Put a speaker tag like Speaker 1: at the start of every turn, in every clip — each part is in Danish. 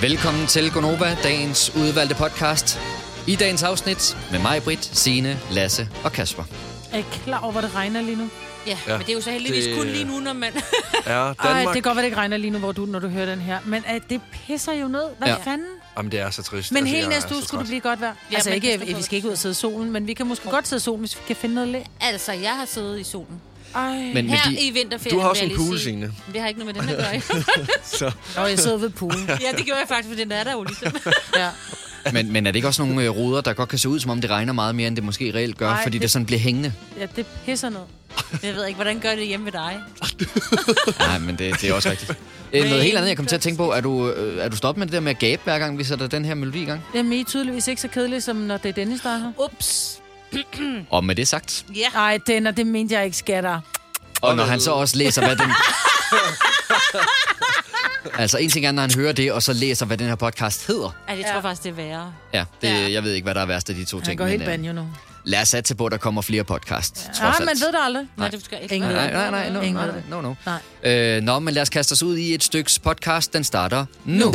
Speaker 1: Velkommen til Gonova, dagens udvalgte podcast. I dagens afsnit med mig, Britt, Sine, Lasse og Kasper.
Speaker 2: Er I klar over, hvor det regner lige nu?
Speaker 3: Ja,
Speaker 4: Ja.
Speaker 3: ja, men det er jo så heldigvis
Speaker 4: Det-
Speaker 3: det... kun lige nu, når man...
Speaker 4: Ja,
Speaker 2: Ej,
Speaker 4: Danmark.
Speaker 2: det kan godt være, det ikke regner lige nu, hvor du, når du hører den her. Men øh, det pisser jo ned. Hvad
Speaker 1: Ja.
Speaker 2: ja. fanden?
Speaker 4: Jamen, det er så trist.
Speaker 2: Men
Speaker 4: Altså,
Speaker 2: hele
Speaker 4: jeg er
Speaker 2: næste uge
Speaker 4: så
Speaker 2: skulle det
Speaker 4: træt.
Speaker 2: blive godt vejr. Ja, altså
Speaker 3: man
Speaker 2: ikke,
Speaker 3: kan stå
Speaker 2: at vi
Speaker 3: på-
Speaker 2: skal ikke ud og sidde i solen, men vi kan måske godt sidde i solen, hvis vi kan finde noget læ.
Speaker 3: altså, jeg har siddet i solen.
Speaker 2: Ej.
Speaker 1: Men, men
Speaker 3: Her
Speaker 1: de,
Speaker 3: i vinterferien,
Speaker 4: Du har også
Speaker 3: vil jeg
Speaker 4: en
Speaker 3: lige
Speaker 4: pool,
Speaker 3: sige.
Speaker 4: Signe.
Speaker 3: Det har ikke noget med den at gøre. ikke?
Speaker 4: Så.
Speaker 2: Nå, jeg sidder ved poolen.
Speaker 3: ja, det gjorde jeg faktisk, for den er der jo ligesom.
Speaker 2: Ja.
Speaker 1: men, men er det ikke også nogle øh, ruder, der godt kan se ud, som om det regner meget mere, end det måske reelt gør, Ej,
Speaker 2: Ej,
Speaker 1: fordi det...
Speaker 2: det-
Speaker 1: det sådan bliver hængende?
Speaker 2: ja, det pisser ned.
Speaker 3: Men jeg ved ikke, hvordan gør det hjemme ved dig?
Speaker 1: Nej, men det, det er også rigtigt. Øh, Noget helt andet, jeg kom til at tænke på. Er du, øh, er du stoppet med det der med at gabe, hver gang vi sætter den her melodi i gang?
Speaker 2: Jamen, I er tydeligvis ikke så kedelige, som når det er Dennis, der er her.
Speaker 3: Ups.
Speaker 2: Mm.
Speaker 1: Og med det sagt,
Speaker 3: Ja.
Speaker 2: Ej, Denner, det mente jeg ikke, skatter.
Speaker 1: Og når han så også læser, hvad den... altså, en ting er, når han hører det, og så læser, hvad den her podcast hedder.
Speaker 3: Ej, det tror jeg faktisk, det er værre.
Speaker 1: Ja, det,
Speaker 3: Ja.
Speaker 1: jeg ved ikke, hvad der er værst af de to
Speaker 2: Han
Speaker 1: ting.
Speaker 2: går helt
Speaker 1: øh,
Speaker 2: banjo nu.
Speaker 1: lad os satse på, at der kommer flere podcasts, ja.
Speaker 2: Ja,
Speaker 1: trods alt.
Speaker 2: man Ah, ved det aldrig.
Speaker 3: Nej, det skal ikke.
Speaker 2: Ingen
Speaker 1: Nej, nej, nej, no,
Speaker 2: Ingen
Speaker 1: nej,
Speaker 2: ved
Speaker 1: nej, no,
Speaker 2: det.
Speaker 1: no.
Speaker 2: Nej.
Speaker 1: Øh, nå, men lad os kaste os ud i et styks podcast. Den starter nu.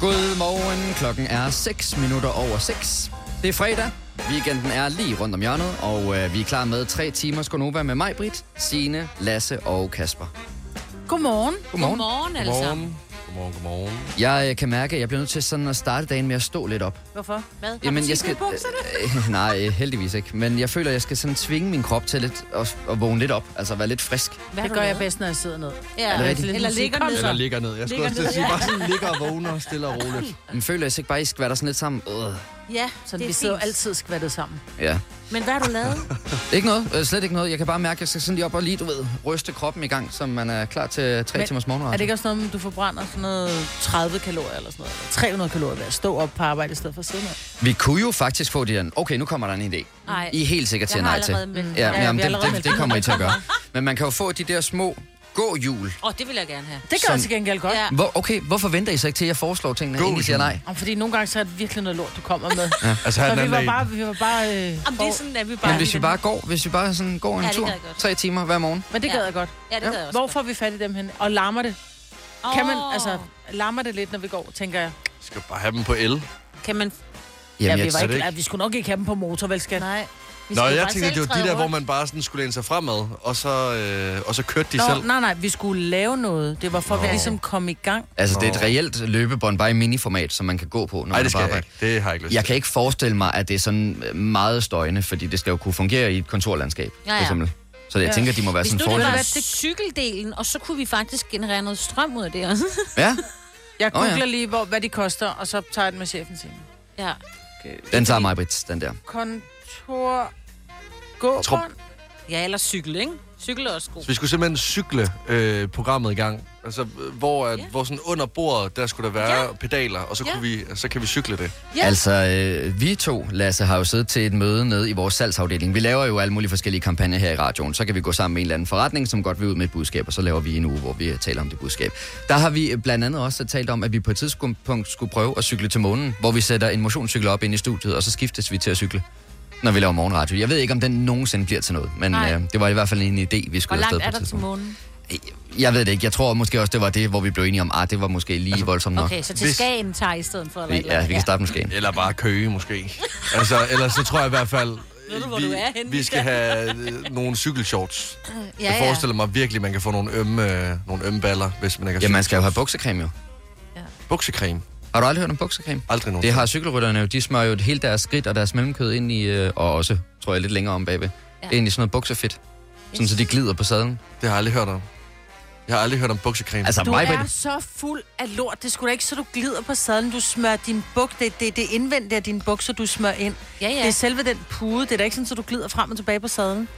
Speaker 1: Godmorgen. Klokken er 6 minutter over 6. Det er fredag. Weekenden er lige rundt om hjørnet, og øh, vi er klar med tre timers Gonova med mig, Britt, Signe, Lasse og Kasper.
Speaker 2: Godmorgen.
Speaker 1: Godmorgen.
Speaker 3: Godmorgen, alle
Speaker 4: Godmorgen.
Speaker 3: sammen.
Speaker 4: Godmorgen, godmorgen.
Speaker 1: Jeg øh, kan mærke, at jeg bliver nødt til sådan at starte dagen med at stå lidt op.
Speaker 2: Hvorfor?
Speaker 3: Hvad? Har
Speaker 1: Jamen,
Speaker 3: du
Speaker 1: jeg
Speaker 3: skidt i
Speaker 1: skal...
Speaker 3: bukserne?
Speaker 1: Øh, nej, øh, heldigvis ikke. Men jeg føler, at jeg skal sådan tvinge min krop til lidt at, at vågne lidt op. Altså være lidt frisk.
Speaker 3: Hvad har
Speaker 2: Det
Speaker 3: du
Speaker 2: gør jeg
Speaker 3: lavet?
Speaker 2: bedst, når jeg sidder ned.
Speaker 3: Ja, altså,
Speaker 1: Er det rigtigt?
Speaker 3: eller ligger
Speaker 2: Kom
Speaker 3: ned.
Speaker 2: så.
Speaker 4: Eller ligger ned. Jeg skulle
Speaker 3: Ligger
Speaker 4: også til at
Speaker 3: ned,
Speaker 4: sige,
Speaker 3: ja.
Speaker 4: bare sådan ligger og vågner stille og roligt.
Speaker 1: Men føler jeg så ikke bare, I skvatter sådan lidt sammen? Øh,
Speaker 3: Ja,
Speaker 2: Så
Speaker 3: det
Speaker 2: vi
Speaker 3: er
Speaker 2: sidder jo
Speaker 3: fint.
Speaker 2: altid skvattet sammen.
Speaker 1: ja.
Speaker 3: Men hvad har du lavet?
Speaker 1: Ikke noget. Øh, slet ikke noget. Jeg kan bare mærke, at jeg skal sådan lige op og lige, du ved, ryste kroppen i gang, så man er klar til tre
Speaker 2: Men
Speaker 1: timers morgenradio.
Speaker 2: Er det ikke også noget, med, du forbrænder sådan noget 30 kalorier eller sådan noget? Eller 300 kalorier ved at stå op på arbejde i stedet for at sidde ned?
Speaker 1: Vi kunne jo faktisk få det der. Okay, nu kommer der en idé.
Speaker 3: Nej.
Speaker 1: I er helt sikkert til
Speaker 3: Jeg
Speaker 1: at
Speaker 3: har
Speaker 1: nej til.
Speaker 3: allerede meldt.
Speaker 1: Ja,
Speaker 2: Ja,
Speaker 1: ja,
Speaker 2: vi
Speaker 1: jamen,
Speaker 2: har allerede
Speaker 1: det, det,
Speaker 2: meldt.
Speaker 1: det kommer I til at gøre. Men man kan jo få de der små gåhjul.
Speaker 3: Åh, det vil jeg gerne have.
Speaker 2: Det gør
Speaker 1: Som-
Speaker 2: jeg til gengæld godt.
Speaker 3: Ja.
Speaker 2: Ja.
Speaker 1: Hvor, okay, hvorfor venter I så ikke til, at jeg foreslår tingene, inden I siger nej?
Speaker 2: Fordi nogle gange så er det virkelig noget lort, du kommer med. Ja.
Speaker 4: Altså, han
Speaker 2: Så
Speaker 4: er
Speaker 2: vi var bare... Vi var bare øh,
Speaker 3: Jamen, det er sådan, at vi bare...
Speaker 1: Men hvis vi bare går, hvis vi bare sådan går en
Speaker 3: Ja, det
Speaker 1: tur,
Speaker 3: gad jeg godt.
Speaker 1: tre timer hver morgen.
Speaker 2: men det gad
Speaker 3: Ja.
Speaker 2: jeg godt.
Speaker 3: Ja, det gør jeg også.
Speaker 2: Hvor får vi fat i dem hen? Og larmer det?
Speaker 3: godt.
Speaker 2: Kan man,
Speaker 3: Åh.
Speaker 2: altså, larmer det lidt, når vi går, tænker jeg.
Speaker 4: Skal bare have dem på el.
Speaker 3: Kan man...
Speaker 1: Jamen,
Speaker 2: ja,
Speaker 1: jeg
Speaker 2: vi, var
Speaker 4: det
Speaker 2: ikke,
Speaker 4: ikke.
Speaker 2: ja, vi skulle nok ikke have dem på motorvælskat.
Speaker 3: Nej.
Speaker 2: Vi
Speaker 4: Nå,
Speaker 2: skulle
Speaker 4: jeg
Speaker 2: bare
Speaker 4: tænkte,
Speaker 2: selv
Speaker 4: det var de
Speaker 2: træde
Speaker 4: der, hvor
Speaker 2: rundt.
Speaker 4: man bare sådan skulle læne sig fremad, og så, øh, og så kørte de
Speaker 2: Nå,
Speaker 4: selv.
Speaker 2: nej, nej, vi skulle lave noget. Det var for, at vi
Speaker 4: Nå.
Speaker 2: ligesom kom i gang.
Speaker 1: Altså, det er et reelt løbebånd, bare i miniformat, som man kan gå på, når
Speaker 4: Nej,
Speaker 1: man
Speaker 4: det
Speaker 1: er på
Speaker 4: skal jeg
Speaker 1: arbejde.
Speaker 4: ikke. Det har jeg ikke lyst
Speaker 1: Jeg
Speaker 4: til.
Speaker 1: kan ikke forestille mig, at det er sådan øh, meget støjende, fordi det skal jo kunne fungere i et kontorlandskab,
Speaker 3: Ja,
Speaker 1: for
Speaker 3: ja.
Speaker 1: eksempel. Så jeg
Speaker 2: Ja.
Speaker 1: tænker, de må være
Speaker 3: Hvis
Speaker 1: sådan
Speaker 3: nu det var
Speaker 1: forholdsvis...
Speaker 2: forholdsvis-
Speaker 3: cykeldelen, og så kunne vi faktisk generere noget strøm ud af det også.
Speaker 1: Ja,
Speaker 2: Jeg
Speaker 1: Nå, ja.
Speaker 2: googler lige, hvor, hvad de koster, og så tager jeg den med chefen til.
Speaker 3: ja.
Speaker 1: den tager mig, Britt, den der.
Speaker 2: Kontor...
Speaker 4: tror-
Speaker 2: Gåbånd?
Speaker 3: Ja, eller cykel, ikke? Cykel er også god.
Speaker 4: Så vi skulle simpelthen cykle øh, programmet i gang. Altså, øh, hvor, at,
Speaker 3: Ja.
Speaker 4: hvor sådan under bordet, der skulle der være
Speaker 3: Ja.
Speaker 4: pedaler, og så,
Speaker 3: Ja.
Speaker 4: kunne vi, så kan vi cykle det.
Speaker 3: Ja.
Speaker 1: Altså, øh, vi to, Lasse, har jo siddet til et møde nede i vores salgsafdeling. Vi laver jo alle mulige forskellige kampagner her i radioen. Så kan vi gå sammen med en eller anden forretning, som godt vil ud med et budskab, og så laver vi en uge, hvor vi øh, taler om det budskab. Der har vi øh, blandt andet også talt om, at vi på et tidspunkt skulle prøve at cykle til månen, hvor vi sætter en motionscykel op ind i studiet, og så skiftes vi til at cykle når vi laver morgenradio. Jeg ved ikke, om den nogensinde bliver til noget, men
Speaker 3: Nej.
Speaker 1: øh, det var i hvert fald en idé, vi
Speaker 3: Hvor
Speaker 1: skulle afsted
Speaker 3: langt
Speaker 1: på
Speaker 3: er
Speaker 1: et
Speaker 3: der til
Speaker 1: tidspunkt.
Speaker 3: månen?
Speaker 1: Jeg ved det ikke. Jeg tror måske også, det var det, hvor vi blev enige om, at det var måske lige voldsomt nok.
Speaker 3: Altså, Okay, så til
Speaker 4: Hvis-
Speaker 3: Skagen tager I i stedet for, eller et
Speaker 1: Vi,
Speaker 3: eller
Speaker 1: ja,
Speaker 3: andet.
Speaker 1: vi kan starte måske.
Speaker 4: Eller bare køge, måske. altså, ellers så tror jeg i hvert fald,
Speaker 3: Ved du, hvor
Speaker 4: vi,
Speaker 3: du er henne,
Speaker 4: vi skal
Speaker 3: Michael?
Speaker 4: have øh, nogle cykelshorts.
Speaker 3: Ja,
Speaker 4: Jeg forestiller mig virkelig, man kan få nogle ømme, øh, nogle ømme baller, hvis man ikke har
Speaker 1: Ja, man skal jo have buksecreme jo.
Speaker 4: Buksecreme.
Speaker 1: Har du aldrig hørt om buksecreme?
Speaker 4: Aldrig nogen.
Speaker 1: Det har cykelrytterne jo. De smører jo et helt deres skridt og deres mellemkød ind i, øh, og også, tror jeg, lidt længere om bagved, ja.
Speaker 3: Ja.
Speaker 1: ind i sådan noget buksefedt. Sådan, så de glider på sadlen.
Speaker 4: det har jeg aldrig hørt om. Jeg har aldrig hørt om buksecreme. Altså,
Speaker 1: Altså,
Speaker 2: Du
Speaker 1: mig,
Speaker 2: er
Speaker 1: Britt,
Speaker 2: så fuld af lort. Det skulle da ikke, så du glider på sadlen. Du smører din buk. Det er det, det indvendte af dine bukser, du smører ind.
Speaker 3: Ja, ja.
Speaker 2: Det er selve den pude. Det er da ikke sådan, så du glider frem og tilbage på sadlen.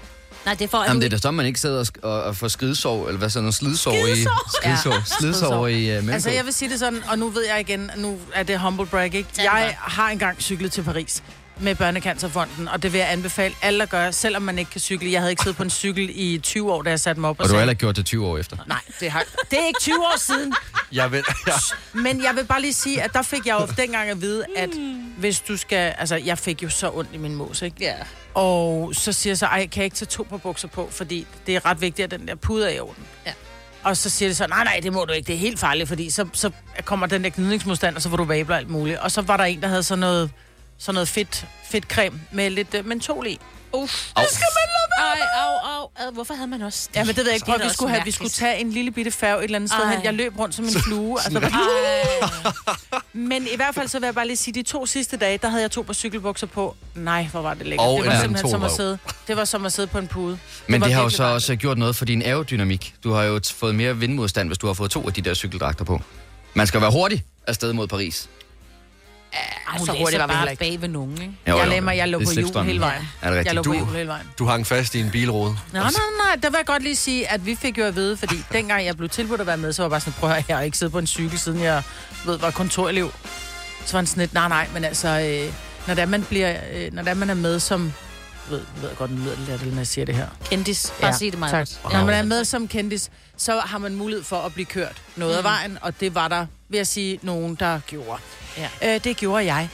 Speaker 3: Nej, det er for, at
Speaker 1: Jamen, det er
Speaker 3: du...
Speaker 1: da sådan, man ikke sidder og, sk- og, og får skidsår, eller hvad sådan noget, slidsår i... Skidsår. Ja. Slidsår i øh, mellemkød.
Speaker 2: Altså, jeg vil sige det sådan, og nu ved jeg igen, nu er det humble brag, ikke?
Speaker 3: den
Speaker 2: Jeg har engang cyklet til Paris. med Børnecancerfonden, og det vil jeg anbefale alle at gøre, selvom man ikke kan cykle. Jeg havde ikke siddet på en cykel i 20 år, da jeg satte mig op og,
Speaker 1: Og du har
Speaker 2: sagde,
Speaker 1: heller ikke gjort det 20 år efter.
Speaker 2: Nej, det, har... det er ikke 20 år siden.
Speaker 4: Jeg ved, ja.
Speaker 2: Men jeg vil bare lige sige, at der fik jeg jo dengang at vide, at hvis du skal... Altså, jeg fik jo så ondt i min mos, ikke?
Speaker 3: Ja.
Speaker 2: Og så siger jeg så, ej, kan jeg ikke tage to par bukser på, fordi det er ret vigtigt, at den der pude er i orden.
Speaker 3: Ja.
Speaker 2: Og så siger det så, nej, nej, det må du ikke, det er helt farligt, fordi så, så kommer den der gnidningsmodstand, og så får du vabler og alt muligt. Og så var der en, der havde sådan noget, sådan noget fedt, fedt creme med lidt øh, mentol i.
Speaker 3: Uff.
Speaker 1: Au.
Speaker 3: Ej, au, au, au. Hvorfor havde man også det?
Speaker 2: Ja, men det ved jeg ikke,
Speaker 3: Det er
Speaker 2: prøv,
Speaker 3: da
Speaker 2: vi
Speaker 3: også
Speaker 2: skulle, have, vi
Speaker 3: mærkeligt.
Speaker 2: skulle tage en lille bitte færge et eller andet sted
Speaker 3: Ej.
Speaker 2: hen. Jeg løb rundt som en flue. Altså,
Speaker 3: Ej.
Speaker 2: men i hvert fald så vil jeg bare lige sige, de to sidste dage, der havde jeg to par cykelbukser på. Nej, hvor var det lækkert.
Speaker 1: Og
Speaker 2: det
Speaker 1: en
Speaker 2: var
Speaker 1: anden
Speaker 2: simpelthen som at,
Speaker 1: togrøv.
Speaker 2: sidde, det var som at sidde på en pude.
Speaker 1: Men
Speaker 2: var
Speaker 1: det har jo
Speaker 2: virkelig
Speaker 1: så
Speaker 2: dejligt.
Speaker 1: også gjort noget for din aerodynamik. Du har jo t- fået mere vindmodstand, hvis du har fået to af de der cykeldragter på. Man skal være hurtig afsted mod Paris.
Speaker 3: Ej,
Speaker 2: Hun
Speaker 3: så
Speaker 2: læser
Speaker 3: hurtigt var
Speaker 2: bare
Speaker 3: bare bag ved nogen, ikke?
Speaker 1: Jo,
Speaker 2: jeg
Speaker 1: jo,
Speaker 2: lagde mig, jeg lå
Speaker 1: det er
Speaker 2: på jul
Speaker 1: slipstrømmen.
Speaker 2: hele vejen.
Speaker 1: Er det
Speaker 2: Jeg lå
Speaker 1: rigtigt?
Speaker 2: på
Speaker 1: Du,
Speaker 2: jul hele vejen.
Speaker 4: Du hang fast i en Altså, bilrode.
Speaker 2: Nå,
Speaker 1: Altså-
Speaker 2: nej, nej, nej, der vil jeg godt lige sige, at vi fik jo at vide, fordi dengang jeg blev tilbudt at være med, så var jeg bare sådan, prøv at høre, jeg har ikke siddet på en cykel, siden jeg ved, var kontorelev. Så var han sådan lidt, nej, nej, men altså, øh, når, der man bliver, øh, når der man er med som, ved, ved jeg godt, nu lyder det lidt, når jeg siger det her.
Speaker 3: Kendis. Bare sig det mig.
Speaker 2: tak. Når man er med som kendis, så har man mulighed for at blive kørt noget af vejen, og det var der, vil jeg sige, nogen, der gjorde.
Speaker 3: Ja.
Speaker 2: Øh, det gjorde jeg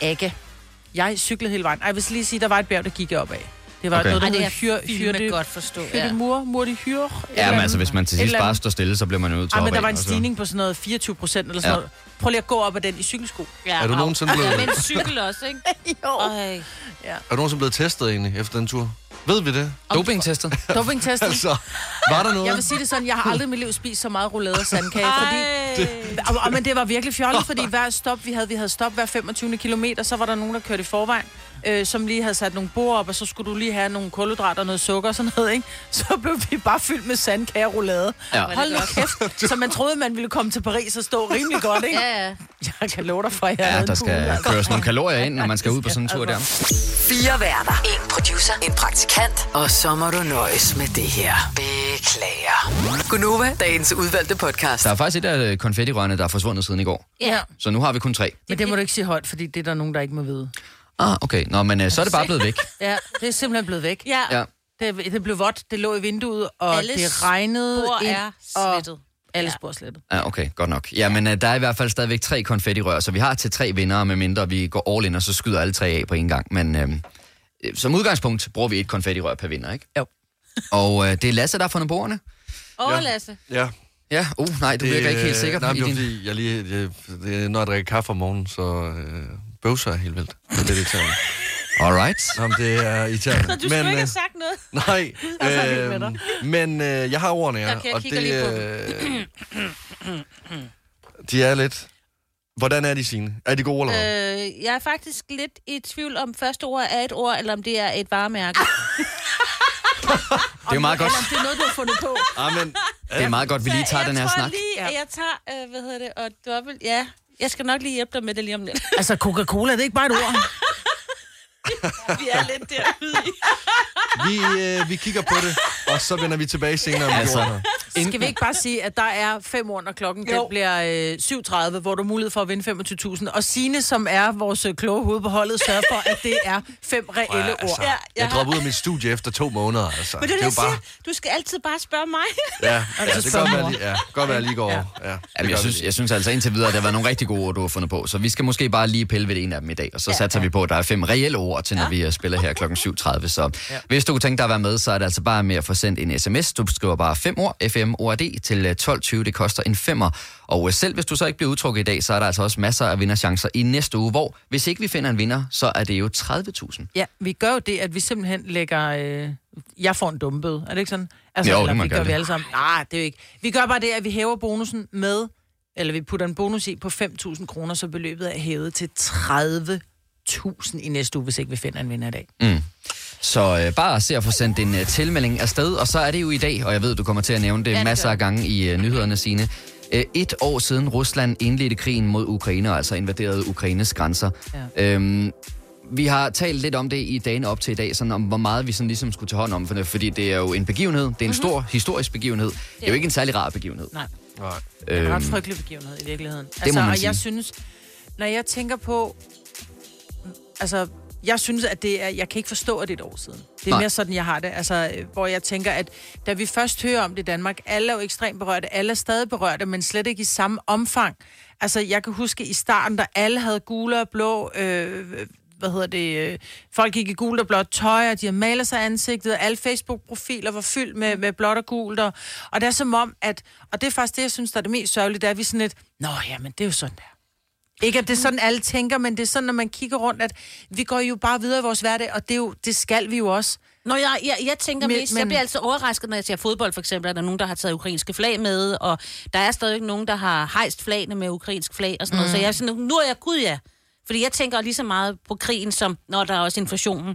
Speaker 2: ikke. Jeg cyklede hele vejen. Ej, jeg vil så lige sige, der var et bjerg, der gik jeg op af. Det var
Speaker 1: Okay.
Speaker 2: okay. noget, der
Speaker 3: Ej, det
Speaker 2: hed
Speaker 3: er
Speaker 2: hyr,
Speaker 3: hyr,
Speaker 2: hyrde,
Speaker 3: det godt forstå.
Speaker 2: hyrde
Speaker 3: Ja.
Speaker 2: mur, mur de hyr.
Speaker 1: ja, men altså, hvis man til
Speaker 2: Et
Speaker 1: sidst
Speaker 2: eller
Speaker 1: bare
Speaker 2: andet.
Speaker 1: står stille, så bliver man nødt til
Speaker 2: Ej,
Speaker 1: at
Speaker 2: men der
Speaker 1: hoppe
Speaker 2: var
Speaker 1: af, altså. og så-
Speaker 2: en stigning på sådan noget 24 procent eller sådan
Speaker 1: Ja.
Speaker 2: ja. noget. Prøv lige at gå op ad den i cykelsko.
Speaker 3: Ja,
Speaker 4: Er du
Speaker 3: au.
Speaker 4: nogensinde
Speaker 3: Ja,
Speaker 4: blevet-
Speaker 3: men cykel også, ikke?
Speaker 2: Jo.
Speaker 3: Ej.
Speaker 4: Er du nogensinde blevet testet egentlig efter den tur? Ved vi det?
Speaker 1: Dopingtestet.
Speaker 2: Dopingtesten.
Speaker 4: Altså, var der
Speaker 2: Jeg
Speaker 4: noget?
Speaker 2: vil sige det sådan, jeg har aldrig i mit liv spist så meget roulade og sandkage, fordi
Speaker 3: Ej.
Speaker 2: Og, og, men det var virkelig fjollet, fordi hver stop, vi havde, vi havde stop hver 25. kilometer, så var der nogen, der kørte i forvejen, øh, som lige havde sat nogle bord op, og så skulle du lige have nogle kulhydrater og noget sukker og sådan noget, ikke? Så blev vi bare fyldt med sandkage og roulade.
Speaker 1: Ja.
Speaker 2: Hold nu kæft, så man troede, man ville komme til Paris og stå rimelig godt, ikke?
Speaker 3: Ja, ja.
Speaker 2: Jeg kan love dig for, at jeg havde
Speaker 1: Ja,
Speaker 2: en
Speaker 1: der
Speaker 2: kugle,
Speaker 1: skal
Speaker 2: altså.
Speaker 1: køres nogle kalorier ind, når man skal ud på sådan en tur der.
Speaker 5: Fire værter. En producer. En praktikant. Og så må du nøjes med det her. Beklager. Gunova, dagens udvalgte podcast.
Speaker 1: Der er faktisk et af øh, konfettirørene, der er forsvundet siden i går.
Speaker 3: ja.
Speaker 1: Så nu har vi kun tre.
Speaker 2: Men det må du ikke sige højt, fordi det er der nogen, der ikke må vide.
Speaker 1: Ah, okay. Nå, men øh, så er det bare blevet væk.
Speaker 2: Ja, det er simpelthen blevet væk.
Speaker 3: ja.
Speaker 1: Ja.
Speaker 2: Det, det blev vådt, det lå i vinduet, og
Speaker 3: Alle
Speaker 2: det regnede
Speaker 3: spor
Speaker 2: ind,
Speaker 3: er
Speaker 2: og
Speaker 3: slettet.
Speaker 2: alle
Speaker 3: Ja.
Speaker 2: spor er slettet.
Speaker 1: Ja, okay, godt nok. Ja, men øh, der er i hvert fald stadigvæk tre konfettirør, så vi har til tre vindere, medmindre vi går all in, og så skyder alle tre af på en gang. Men øh, øh, som udgangspunkt bruger vi et konfettirør per vinder, ikke?
Speaker 2: Jo.
Speaker 1: Og øh, det er Lasse, der har fundet bordene.
Speaker 3: Åh,
Speaker 4: Ja.
Speaker 3: Lasse.
Speaker 4: Ja.
Speaker 1: Ja, uh, nej, du virker ikke helt sikker.
Speaker 4: Øh, Nej,
Speaker 1: i
Speaker 4: men det
Speaker 1: din...
Speaker 4: var fordi, jeg lige, jeg, det, er, når jeg drikker kaffe om morgenen, så øh, bøvser jeg helt vildt. Det er lidt irriterende.
Speaker 1: Alright.
Speaker 4: Nå, men det er irriterende.
Speaker 3: Så du skulle ikke
Speaker 4: øh,
Speaker 3: have sagt noget.
Speaker 4: Nej,
Speaker 3: Altså,
Speaker 4: øh, men øh, jeg har ordene, ja.
Speaker 3: Okay, jeg kigger lige på
Speaker 4: øh, de er lidt... Hvordan er de, sine? Er de gode eller hvad?
Speaker 3: Øh, jeg er faktisk lidt i tvivl om første ord er et ord, eller om det er et varemærke.
Speaker 1: Det er jo meget godt,
Speaker 2: Det er noget, du har fundet på.
Speaker 3: Øh.
Speaker 4: Ah, men,
Speaker 1: det er meget godt vi lige tager
Speaker 3: jeg
Speaker 1: den her
Speaker 3: tror
Speaker 1: snak.
Speaker 3: lige, at jeg tager, øh, hvad hedder det, og dobbelt, ja. Jeg skal nok lige hjælpe dig med det lige om lidt.
Speaker 2: Altså, Coca-Cola, det er ikke bare et ord.
Speaker 3: Vi er lidt derude. i.
Speaker 4: vi, øh, vi kigger på det, og så vender vi tilbage senere om altså.
Speaker 1: Altså,
Speaker 2: Skal vi ikke bare sige, at der er fem år, når klokken den bliver øh, 7.30, hvor du har mulighed for at vinde 25.000, og Sine, som er vores øh, kloge hoved på holdet, sørger for, at det er fem reelle
Speaker 4: Ja, altså,
Speaker 2: ord.
Speaker 3: Ja,
Speaker 4: jeg,
Speaker 3: jeg
Speaker 4: jeg
Speaker 3: har-
Speaker 4: dropper ud af mit studie efter to måneder, altså.
Speaker 3: Men det, er
Speaker 4: jo
Speaker 3: det, jeg siger, du skal altid bare spørge mig.
Speaker 4: Ja, ja,
Speaker 2: så
Speaker 4: det kan
Speaker 2: spørger
Speaker 4: godt
Speaker 2: mor.
Speaker 4: være, lige- ja, godt være, jeg lige går over. Ja, det
Speaker 1: Jamen,
Speaker 4: gør
Speaker 1: jeg,
Speaker 4: vi
Speaker 1: synes,
Speaker 4: lige.
Speaker 1: jeg synes altså indtil videre, at der har været nogle rigtig gode ord, du har fundet på. Så vi skal måske bare lige pille ved en af dem i dag. Og så ja, satser ja. vi på, at der er fem reelle ord til, når ja. vi øh, spiller her kl. 7.30. Så ja. hvis du kunne tænke dig at være med, så er det altså bare med at få sendt en sms. Du skriver bare fem ord, FM, ORD, til øh, 12.20. Det koster en femmer. Og øh, selv hvis du så ikke bliver udtrukket i dag, så er der altså også masser af vinderchancer i næste uge, hvor hvis ikke vi finder en vinder, så er det jo 30.000.
Speaker 2: Ja, vi gør jo det, at vi simpelthen lægger... Øh, jeg får en dumpede, er det ikke sådan? Altså,
Speaker 1: Jo, det
Speaker 2: eller,
Speaker 1: må man
Speaker 2: vi gør
Speaker 1: gerne.
Speaker 2: vi alle sammen. Nej, det er jo ikke. Vi gør bare det, at vi hæver bonusen med, eller vi putter en bonus i på 5.000 kroner, så beløbet er hævet til 30.000 i næste uge, hvis ikke vi finder en vinder i dag.
Speaker 1: Mm. Så øh, bare se at få sendt en øh, tilmelding afsted, og så er det jo i dag, og jeg ved, du kommer til at nævne det,
Speaker 3: det
Speaker 1: masser
Speaker 3: gør
Speaker 1: af gange i øh, nyhederne, sine. Øh, et år siden Rusland indledte krigen mod Ukraine, og altså invaderede Ukraines grænser. Ja. Øhm, vi har talt lidt om det i dagene op til i dag, sådan om hvor meget vi sådan ligesom skulle tage hånd om, for det, fordi det er jo en begivenhed, det er en mm-hmm. stor historisk begivenhed. Det er jo ikke en særlig rar begivenhed.
Speaker 2: Mhm.
Speaker 1: Øhm,
Speaker 2: Nej.
Speaker 4: Nej.
Speaker 2: Det er en ret frygtelig begivenhed i virkeligheden. Altså,
Speaker 1: må Øh, man
Speaker 2: og
Speaker 1: sige.
Speaker 2: jeg synes, når jeg tænker på, altså, Jeg synes, at det er... Jeg kan ikke forstå, at det er et år siden. Det
Speaker 1: Nej.
Speaker 2: er Nej. mere sådan, jeg har det. Altså, øh, hvor jeg tænker, at da vi først hører om det i Danmark, alle er jo ekstremt berørte. Alle er stadig berørte, men slet ikke i samme omfang. Altså, jeg kan huske i starten, da alle havde gule og blå... Øh, hvad hedder det, øh, folk gik i gult og blåt tøj, og de har malet sig i ansigtet, og alle Facebook-profiler var fyldt med, med blåt og gult, og, og det er som om, at, og det er faktisk det, jeg synes, der er det mest sørgelige, det er, at vi er sådan lidt, nå ja, men det er jo sådan der. Ikke at det er sådan, alle tænker, men det er sådan, når man kigger rundt, at vi går jo bare videre i vores hverdag, og det, er jo, det skal vi jo også.
Speaker 6: Nå, jeg, jeg, jeg tænker
Speaker 2: Men-
Speaker 6: men, mest, men... jeg
Speaker 2: men-
Speaker 6: bliver altid overrasket, når jeg ser fodbold for eksempel, at der er nogen, der har taget ukrainske flag med, og der er stadig nogen, der har hejst flagene med ukrainsk flag og sådan mm. noget. Så jeg er sådan, nu er jeg gud ja. Fordi jeg tænker lige så meget på krigen, som når der er også inflationen.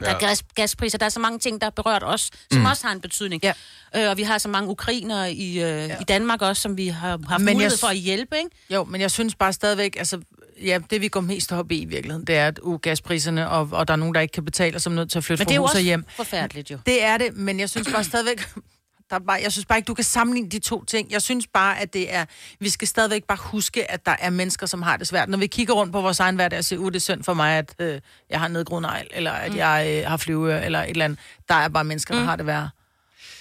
Speaker 6: Der er
Speaker 4: Ja.
Speaker 6: gas, gaspriser, der er så mange ting, der er berørt os, som mm. også har en betydning.
Speaker 2: Ja.
Speaker 6: Øh, og vi har så mange ukrainere i, øh, ja. i Danmark også, som vi har haft
Speaker 2: Men jeg
Speaker 6: men mulighed jeg...
Speaker 2: s-
Speaker 6: for at hjælpe, ikke?
Speaker 2: Jo, men jeg synes bare stadigvæk, altså, ja, det vi går mest op i i virkeligheden, det er, at uh, gaspriserne, og, og der er nogen, der ikke kan betale, og som er nødt til at flytte
Speaker 6: Men det er
Speaker 2: fra
Speaker 6: jo
Speaker 2: hus
Speaker 6: også
Speaker 2: og hjem.
Speaker 6: forfærdeligt jo.
Speaker 2: Det er det, men jeg synes bare stadigvæk... Der er bare, jeg synes bare ikke, du kan sammenligne de to ting. Jeg synes bare, at det er... Vi skal stadigvæk bare huske, at der er mennesker, som har det svært. Når vi kigger rundt på vores egen hverdag og siger, uh, det er synd for mig, at øh, jeg har en nedgroet negl, eller
Speaker 6: Mm.
Speaker 2: at jeg øh, har flyve, eller et eller andet. Der er bare mennesker, der har det værre.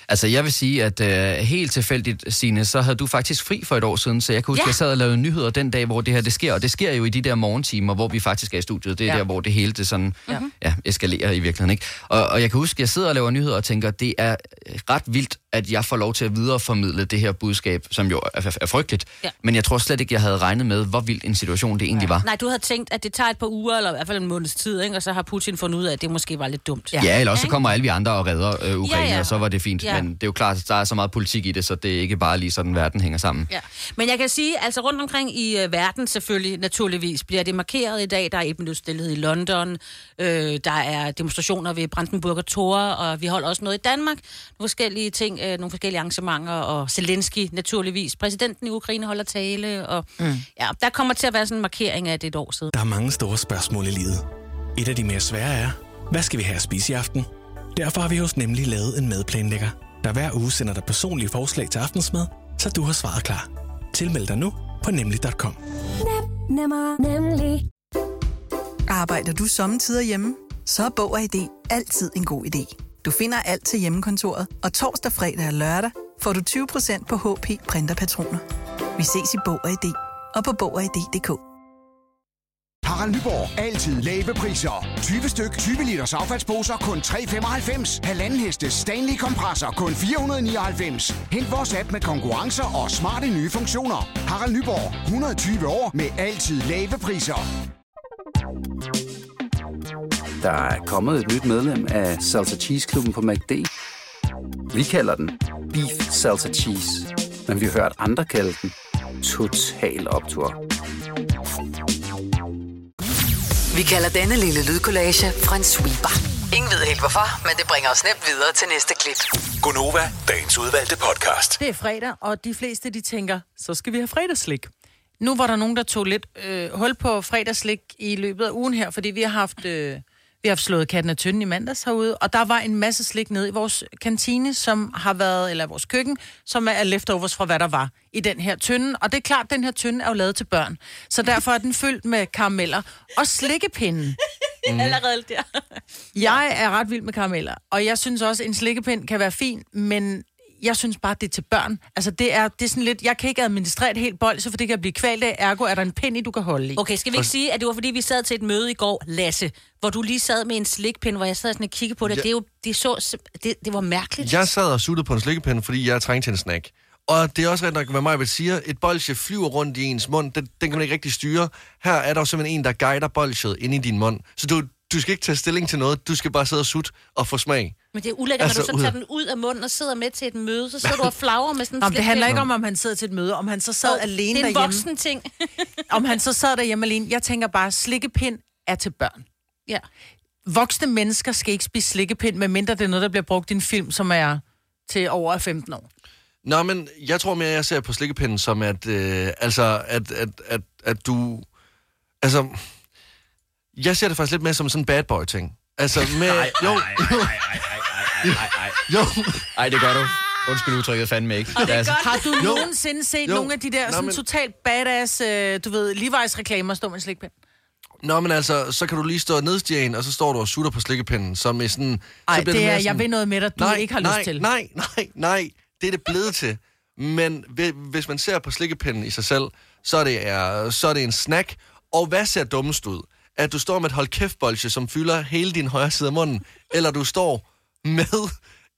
Speaker 1: Altså, jeg vil sige, at øh, helt tilfældigt, Signe, så havde du faktisk fri for et år siden, så jeg kan huske, ja.
Speaker 6: Ja.
Speaker 1: jeg sad og lavede nyheder den dag, hvor det her det sker, og det sker jo i de der morgentimer, hvor vi faktisk er i studiet. Det er ja.
Speaker 2: Ja.
Speaker 1: der, hvor det hele det sådan, ja, Mhm. eskalerer i virkeligheden, ikke? Og, og jeg kan huske, jeg sidder og laver nyheder og tænker, det er øh, ret vildt, at jeg får lov til at videreformidle det her budskab, som jo er, er, er frygteligt, ja.
Speaker 6: Ja.
Speaker 1: men jeg tror slet ikke, jeg havde regnet med, hvor vild en situation det egentlig var.
Speaker 6: Nej, du havde tænkt, at det tager et par uger, eller i hvert fald en måneds tid, ikke? og så har Putin fundet ud af, at det måske var lidt dumt.
Speaker 1: Ja, ja eller også så kommer alle vi andre og redder øh, Ukraine, ja,
Speaker 6: Ja,
Speaker 1: ja.
Speaker 6: ja.
Speaker 1: og så var det fint. Ja.
Speaker 6: Ja.
Speaker 1: Men det er jo klart, at der er så meget politik i det, så det er ikke bare lige sådan, verden hænger sammen.
Speaker 6: Ja. Men jeg kan sige, altså rundt omkring i øh, verden selvfølgelig, naturligvis, bliver det markeret i dag. Der er et stillhed i London, øh, der er demonstrationer ved Brandenburger Tor, og vi holder også noget i Danmark. Nogle forskellige ting, øh, nogle forskellige arrangementer, og Zelensky naturligvis. Præsidenten i Ukraine holder tale, og mm. ja, der kommer til at være sådan en markering af at det er et år siden.
Speaker 7: Der er mange store spørgsmål i livet. Et af de mere svære er, hvad skal vi have at spise i aften? Derfor har vi hos Nemlig lavet en madplanlægger, der hver uge sender dig personlige forslag til aftensmad, så du har svaret klar. Tilmeld dig nu på nemlig.com.
Speaker 8: Nemmer, nemlig.
Speaker 9: Arbejder du sommetider hjemme? Så er Bog og ID altid en god idé. Du finder alt til hjemmekontoret, og torsdag, fredag og lørdag får du 20% på HP Printerpatroner. Vi ses i Bog og ID og på Bog og ID.dk.
Speaker 10: Harald Nyborg. Altid lave priser. 20 styk, 20 liters affaldsposer kun 3,95. Halvanden heste Stanley kompresser kun 499. Hent vores app med konkurrencer og smarte nye funktioner. Harald Nyborg. 120 år med altid lave priser.
Speaker 11: Der er kommet et nyt medlem af Salsa Cheese Klubben på MACD. Vi kalder den Beef Salsa Cheese, men vi har hørt andre kalde den Total Optor.
Speaker 5: Vi kalder denne lille lydkollage en sweeper. Ingen ved helt hvorfor, men det bringer os nemt videre til næste klip.
Speaker 7: Gonova, dagens udvalgte podcast.
Speaker 2: Det er fredag, og de fleste de tænker, så skal vi have fredagslik. Nu var der nogen, der tog lidt øh, hul på fredagslik i løbet af ugen her, fordi vi har haft, øh, vi har haft slået katten af tynden i mandags herude, og der var en masse slik nede i vores kantine, som har været, eller vores køkken, som er leftovers fra, hvad der var i den her tynde. Og det er klart, den her tynde er jo lavet til børn, så derfor er den fyldt med karameller og slikkepinden.
Speaker 6: Allerede der.
Speaker 2: Jeg er ret vild med karameller, og jeg synes også, en slikkepind kan være fin, men jeg synes bare, det er til børn. Altså, det er, det er sådan lidt... Jeg kan ikke administrere et helt bold, så for det kan jeg blive kvalt af. Ergo er der en pind i, du kan holde i.
Speaker 6: Okay, skal vi ikke sige, at det var fordi, vi sad til et møde i går, Lasse, hvor du lige sad med en slikpind, hvor jeg sad sådan og kiggede på det.
Speaker 4: Ja.
Speaker 6: Ja. Det, er jo, det, så, sim- det, det var mærkeligt.
Speaker 4: Jeg sad og suttede på en slikkepind, fordi jeg trængte til en snack. Og det er også rent nok, hvad mig vil sige. Et bolsje flyver rundt i ens mund. Den, den kan man ikke rigtig styre. Her er der jo simpelthen en, der guider bolsjet ind i din mund. Så du, du skal ikke tage stilling til noget. Du skal bare sidde og sutte og få smag.
Speaker 6: Men det er ulækkert, altså,
Speaker 4: Altså,
Speaker 6: når du
Speaker 4: ud
Speaker 6: så
Speaker 4: af-
Speaker 6: tager den ud af munden og sidder med til et møde, så sidder du og flagrer med sådan en
Speaker 2: Nå, men det
Speaker 6: slikpind.
Speaker 2: handler ikke om, om han sidder til et møde, om han så sad oh, alene
Speaker 6: Det er en
Speaker 2: derhjemme.
Speaker 6: voksen ting.
Speaker 2: Om han så sad derhjemme alene. Jeg tænker bare, slikkepind er til børn.
Speaker 6: ja.
Speaker 2: Voksne mennesker skal ikke spise slikkepind, medmindre det er noget, der bliver brugt i en film, som er til over 15 år.
Speaker 4: Nå, men jeg tror mere, jeg ser på slikkepinden som, at, øh, altså, at, at, at, at du... Altså, jeg ser det faktisk lidt mere som sådan en bad boy-ting. Altså, med... Nej, jo, jo,
Speaker 1: Ej, det gør du. Undskyld udtrykket fandme ikke. Og det er
Speaker 2: Har du jo. nogensinde set
Speaker 4: Jo.
Speaker 2: jo. nogle af de der
Speaker 4: Nå,
Speaker 2: sådan
Speaker 4: men-
Speaker 2: totalt badass, øh, du ved, Levi's reklamer stå med en slikpind?
Speaker 4: Nå, men altså, så kan du lige stå og nedstiger en, og så står du og sutter på slikkepinden, som er sådan...
Speaker 2: Ej,
Speaker 4: så bliver
Speaker 2: det
Speaker 4: mere
Speaker 2: er, jeg vil noget med dig, du
Speaker 4: nej,
Speaker 2: ikke har
Speaker 4: nej,
Speaker 2: lyst til.
Speaker 4: Nej, nej, nej, det er det blevet til. Men hvi- hvis man ser på slikkepinden i sig selv, så er det, er, så er det en snack. Og hvad ser dummest ud? At du står med et hold kæft bolsje, som fylder hele din højre side af munden, eller du står med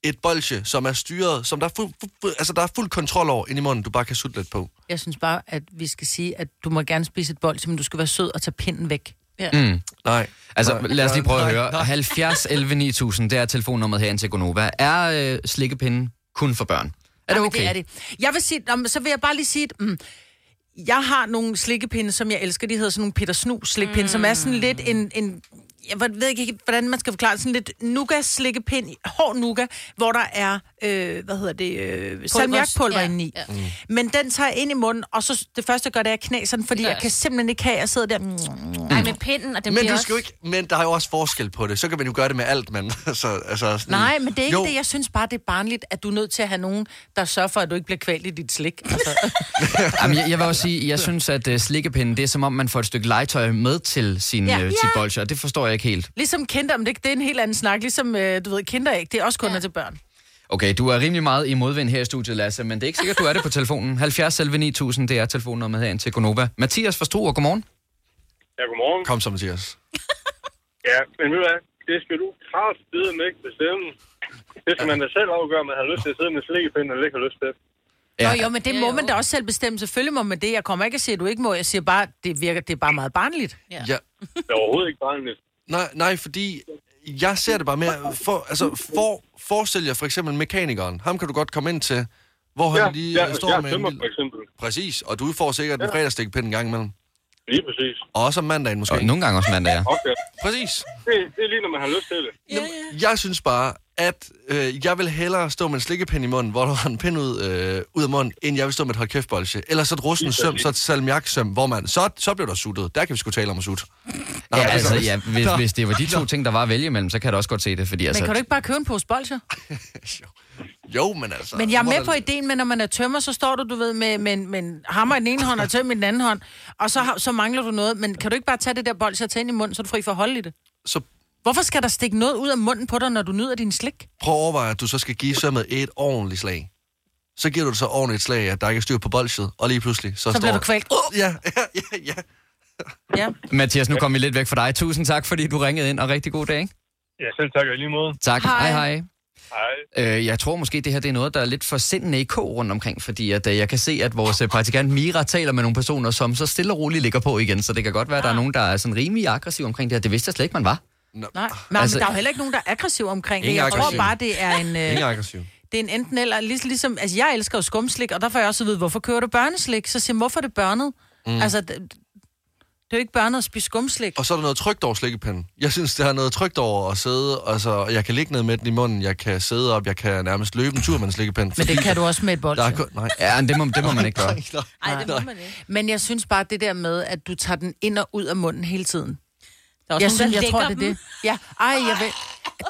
Speaker 4: et bolsje, som er styret, som der er fuld, fu- fu- altså der er fuld kontrol over ind i munden, du bare kan sutte lidt på.
Speaker 2: Jeg synes bare, at vi skal sige, at du må gerne spise et bolde, men du skal være sød og tage pinden væk. Ja.
Speaker 1: Mm.
Speaker 4: Nej.
Speaker 1: Altså,
Speaker 4: Nej.
Speaker 1: lad os lige prøve at
Speaker 4: Nej,
Speaker 1: høre. 70 11 9000, det er telefonnummeret herinde til Gonova. Er øh, slikkepinden kun for børn? Er det
Speaker 2: Jamen,
Speaker 1: okay?
Speaker 2: Det er det. Jeg vil sige, nå, men så vil jeg bare lige sige, at, mm, jeg har nogle slikkepinde, som jeg elsker. De hedder sådan nogle Peter Snus slikkepinde, mm. som er sådan lidt en, en jeg ved ikke, helt, hvordan man skal forklare det, sådan lidt nougat slikkepind, hård nougat, hvor der er, øh, hvad hedder det, øh, salmiakpulver
Speaker 6: Ja,
Speaker 2: ja, indeni.
Speaker 6: ja.
Speaker 2: Ja. Men den tager jeg ind i munden, og så det første, jeg gør, det er, at jeg knaser den, fordi
Speaker 6: Det gør
Speaker 2: jeg
Speaker 6: jeg
Speaker 2: kan simpelthen ikke have, at jeg sidder der.
Speaker 6: Nej, med pinden, og det
Speaker 4: men
Speaker 6: bliver
Speaker 4: du skal jo ikke, men der er jo også forskel på det. Så kan man jo gøre det med alt, men så, altså sådan,
Speaker 2: Nej, men det er ikke
Speaker 4: jo,
Speaker 2: jo. det. Jeg synes bare, det er barnligt, at du er nødt til at have nogen, der sørger for, at du ikke bliver kvalt i dit slik. Altså.
Speaker 1: Jamen, jeg, jeg vil også sige, jeg synes, at øh, slikkepinden, det er som om, man får et stykke legetøj med til sin,
Speaker 2: Ja.
Speaker 1: ja. øh, sit
Speaker 2: Ja.
Speaker 1: bolsje, og det forstår jeg ikke helt.
Speaker 2: Ligesom kinder, men det, det er en helt anden snak. Ligesom, øh, du ved, kinderæg, det er også kun ja. til børn.
Speaker 1: Okay, du er rimelig meget i modvind her i studiet, Lasse, men det er ikke sikkert, du er det på telefonen. 70 11 9000, det er telefonnummeret herinde til Gonova. Mathias fra Struer, godmorgen.
Speaker 12: Ja, godmorgen.
Speaker 4: Kom så, Mathias.
Speaker 12: Ja, men ved du hvad? Det skal du kraftedeme med ikke bestemme. Det skal man da selv afgøre, om man har lyst til at sidde med slikkepinden, eller ikke har lyst til.
Speaker 2: Ja. Nå jo, men det må man da også selv bestemme. Selvfølgelig må man det. Jeg kommer ikke at sige, at du ikke må. Jeg siger bare, det virker, det er bare meget barnligt. Ja.
Speaker 4: Ja.
Speaker 12: Det er overhovedet ikke barnligt.
Speaker 4: Nej, nej, fordi jeg ser det bare mere... For, altså, for, forestil jer for eksempel mekanikeren. Ham kan du godt komme ind til, hvor han
Speaker 12: ja,
Speaker 4: lige
Speaker 12: ja,
Speaker 4: øh, står
Speaker 12: jeg
Speaker 4: med
Speaker 12: tømmer,
Speaker 4: lille-
Speaker 12: for eksempel.
Speaker 4: Præcis, og du får sikkert ja. en
Speaker 12: Ja.
Speaker 4: fredagstikpind en gang imellem.
Speaker 12: Lige præcis.
Speaker 4: Og også om mandagen måske.
Speaker 1: Og nogle gange også mandag, ja.
Speaker 12: Okay.
Speaker 4: Præcis.
Speaker 12: Det, det er lige, når man har lyst til det.
Speaker 4: Jeg synes bare, at øh, jeg vil hellere stå med en slikkepind i munden, hvor der var en pind ud, øh, ud af munden, end jeg vil stå med et hold kæft bolsje. Eller så et russen søm, så et salmiaksøm, hvor man... Så, så bliver der suttet. Der kan vi sgu tale om at sutte. Nå,
Speaker 1: Ja, altså, ja, hvis,
Speaker 4: Nå.
Speaker 1: hvis det var de to ting, der var at vælge imellem, så kan jeg da også godt se det, fordi
Speaker 2: Men
Speaker 1: altså...
Speaker 2: kan du ikke bare købe en pose bolcher?
Speaker 4: Jo, men altså...
Speaker 2: Men jeg er
Speaker 4: så må
Speaker 2: med
Speaker 4: der-
Speaker 2: på ideen, men når man er tømmer, så står du, du ved, med, med, en- med en hammer i den ene hånd og tømmer i den anden hånd, og så, har- så mangler du noget. Men kan du ikke bare tage det der bolcher og tage ind i munden, så er du fri for at holde i det?
Speaker 4: Så
Speaker 2: Hvorfor skal der stikke noget ud af munden på dig, når du nyder din slik?
Speaker 4: prøv at overveje, at du så skal give sømmet et ordentligt slag. Så giver du det så ordentligt et slag, at der ikke er styr på bolsjet, og lige pludselig... Så,
Speaker 2: Så bliver
Speaker 4: står
Speaker 2: du kvalt.
Speaker 4: Uh, ja, ja, ja, ja.
Speaker 1: Mathias, nu kom vi lidt væk fra dig. Tusind tak, fordi du ringede ind, og rigtig god dag.
Speaker 12: Ja, selv tak og i lige måde.
Speaker 1: Tak. Hej, hej.
Speaker 12: Hej.
Speaker 1: Øh, jeg tror måske, det her det er noget, der er lidt for sindende i kog rundt omkring, fordi at, øh, jeg kan se, at vores øh, praktikant Mira taler med nogle personer, som så stille og roligt ligger på igen, så det kan godt være, at der er nogen, der er sådan rimelig aggressiv omkring det her. Det vidste jeg slet ikke, man var.
Speaker 2: Nej, men,
Speaker 1: Altså-
Speaker 2: altså, men der er jo heller ikke nogen, der er aggressiv omkring det.
Speaker 1: Ingen
Speaker 2: Jeg
Speaker 1: aggressiv.
Speaker 2: tror bare, det er en... øh,
Speaker 4: Ingen aggressiv.
Speaker 2: Det er en enten eller, lig- ligesom, altså jeg elsker jo skumslik, og der får jeg også at vide, hvorfor kører du børneslik? Så siger jeg, hvorfor er det børnet?
Speaker 4: Mm.
Speaker 2: Mm. Altså, det, det er jo ikke børnet at spise skumslik.
Speaker 4: Og så er der noget trygt over slikkepinden. Jeg synes, der er noget trygt over at sidde. Altså, jeg kan ligge ned med den i munden, jeg kan sidde op, jeg kan nærmest løbe en tur med en slikkepind.
Speaker 2: Men det kan du også med et bolsje.
Speaker 4: Der er kun, nej.
Speaker 1: Ja, det må, det må man ikke gøre.
Speaker 2: Ej, det må man ikke. Men jeg synes bare, det der med, at du tager den ind og ud af munden hele tiden.
Speaker 6: er også
Speaker 2: jeg
Speaker 6: nogen,
Speaker 2: synes,
Speaker 6: der
Speaker 2: jeg tror, det
Speaker 6: lægger
Speaker 2: er det. Ja, ej, jeg ved...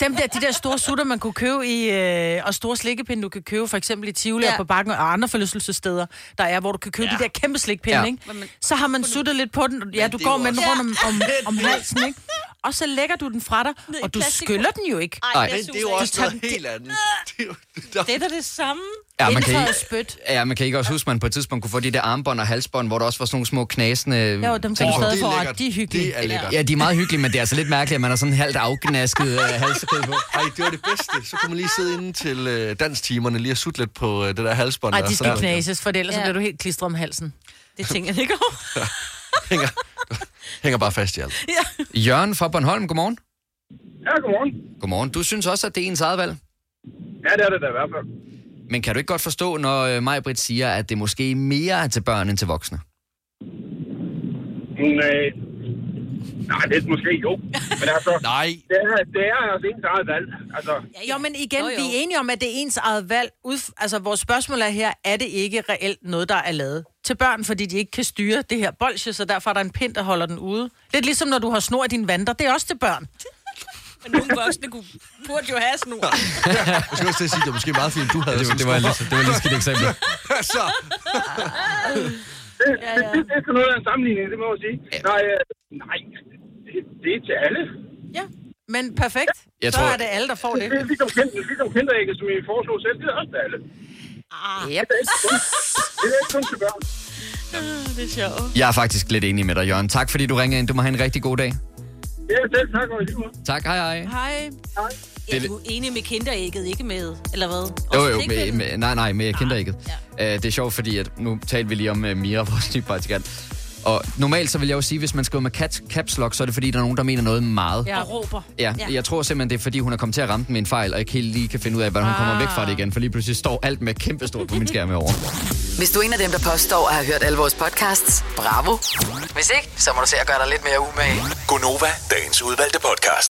Speaker 2: Dem der, de der store sutter, man kunne købe i, øh, og store slikkepinde, du kan købe for eksempel i Tivoli ja. og på Bakken og andre forlystelsessteder, der er, hvor du kan købe ja. de der kæmpe slikpinde,
Speaker 6: Ja.
Speaker 2: ja. ikke? Så har man suttet lidt på den, ja, du
Speaker 6: det er
Speaker 2: går
Speaker 6: jo
Speaker 2: med den
Speaker 6: også-
Speaker 2: rundt om, om,
Speaker 6: Ja.
Speaker 2: om halsen, ikke? Og så lægger du den fra dig,
Speaker 6: Ned i
Speaker 2: og du
Speaker 6: plastik.
Speaker 2: skyller den jo ikke.
Speaker 6: Ej, det er Men det er jo super- også
Speaker 2: Du tager
Speaker 6: noget
Speaker 2: den-
Speaker 4: helt andet.
Speaker 6: Det er da det samme.
Speaker 1: Ja, man
Speaker 6: Indenfor
Speaker 1: kan
Speaker 6: er spyt.
Speaker 1: ikke, ja, man kan ikke også huske, at man på et tidspunkt kunne få de der armbånd og halsbånd, hvor der også var sådan nogle små knasende...
Speaker 2: Jo, dem kan
Speaker 1: ting
Speaker 2: du
Speaker 1: på.
Speaker 2: stadig få, og de er hyggelige.
Speaker 4: Det er lækkert.
Speaker 1: Ja, de er meget hyggelige, men det er altså lidt mærkeligt, at man er sådan halvt afgnasket øh, halsekæde på.
Speaker 4: Ej, det var det bedste. Så kunne man lige sidde inde til øh, danstimerne, lige at sutte lidt på øh, det der halsbånd.
Speaker 2: Ej,
Speaker 4: der,
Speaker 2: de
Speaker 4: så
Speaker 2: skal
Speaker 4: der-
Speaker 2: knases, for ellers ja.
Speaker 6: Ja.
Speaker 2: bliver du helt klistret om halsen.
Speaker 6: Det tænker jeg ikke over.
Speaker 4: hænger, hænger bare fast i alt.
Speaker 1: Jørgen fra Bornholm, godmorgen.
Speaker 12: Ja, godmorgen.
Speaker 1: Godmorgen. Du synes også, at det er ens eget valg?
Speaker 12: Ja, det er det da i hvert fald.
Speaker 1: Men kan du ikke godt forstå, når øh, Majbrit siger, at det måske mere er til børn end til voksne?
Speaker 12: Nej. øh, Nej, det er måske jo. Men altså,
Speaker 4: Nej.
Speaker 12: Det er, det er altså ens eget valg. Altså,
Speaker 2: Jo, men igen, jo, jo. vi er enige om, at det er ens eget valg. Ud, altså, vores spørgsmål er her, er det ikke reelt noget, der er lavet til børn, fordi de ikke kan styre det her bolsje, så derfor er der en pind, der holder den ude. Lidt ligesom, når du har snor i dine vanter, det er også til børn.
Speaker 6: Men nogle voksne kunne, burde jo have sådan nogle.
Speaker 4: Jeg skulle også til at sige, det var måske meget fint, du havde
Speaker 1: Det var-
Speaker 4: sådan
Speaker 1: det var
Speaker 4: en
Speaker 1: lidt- det
Speaker 4: skuffer.
Speaker 1: var lidt skidt eksempel.
Speaker 4: så,
Speaker 12: det, det, det, det, er sgu noget af en sammenligning, det må jeg sige. Nej, øh, nej, det er til alle.
Speaker 2: Men perfekt.
Speaker 12: Jeg
Speaker 2: så
Speaker 12: tror-
Speaker 2: er det alle, der får det.
Speaker 12: Ligesom, hen- ligesom henterægget, som I foreslog selv, det er også til alle.
Speaker 2: Ah.
Speaker 12: Yep. Det er ikke kun, det er ikke kun til børn.
Speaker 3: Det er sjovt.
Speaker 1: Jeg er faktisk lidt enig med dig, Jørgen. Tak fordi du ringede ind. Du må have en rigtig god dag.
Speaker 12: Ja, selv tak, og i lige måde.
Speaker 1: Tak, hej hej.
Speaker 6: Hej.
Speaker 1: Det er
Speaker 6: Er
Speaker 1: lidt-
Speaker 6: du enig med kinderægget, ikke med, eller hvad?
Speaker 1: Jo,
Speaker 6: Også
Speaker 1: jo,
Speaker 6: ikke
Speaker 1: med,
Speaker 6: med-
Speaker 1: med, nej, nej, med kinderægget. Ja. Øh, det er sjovt, fordi at, nu talte vi lige om uh, Mira, vores nye praktikant. Og normalt så vil jeg jo sige, hvis man skriver med cat, caps lock, så er det fordi, der er nogen, der mener noget meget.
Speaker 6: Jeg råber.
Speaker 1: Ja, ja, jeg tror simpelthen, det er fordi, hun er kommet til at ramme den med en fejl, og ikke helt lige kan finde ud af, hvordan hun kommer væk fra det igen, for lige pludselig står alt med kæmpestort på min skærm herovre.
Speaker 5: Hvis du er en af dem, der påstår at have hørt alle vores podcasts, bravo. Hvis ikke, så må du se at gøre dig lidt mere umage.
Speaker 7: Gonova, dagens udvalgte podcast.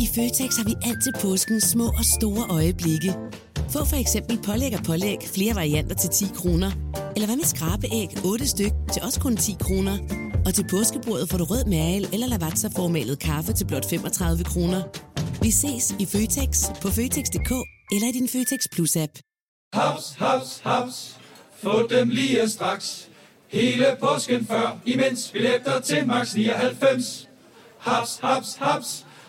Speaker 13: I Føtex har vi altid påsken små og store øjeblikke. Få for eksempel pålæg og pålæg flere varianter til 10 kroner. Eller hvad med skrabeæg 8 styk til også kun 10 kroner. Og til påskebordet får du rød mal eller lavatserformalet kaffe til blot 35 kroner. Vi ses i Føtex på Føtex.dk eller i din Føtex Plus-app.
Speaker 14: Haps, haps, haps. Få dem lige straks. Hele påsken før, imens billetter til max 99. Haps, haps, haps.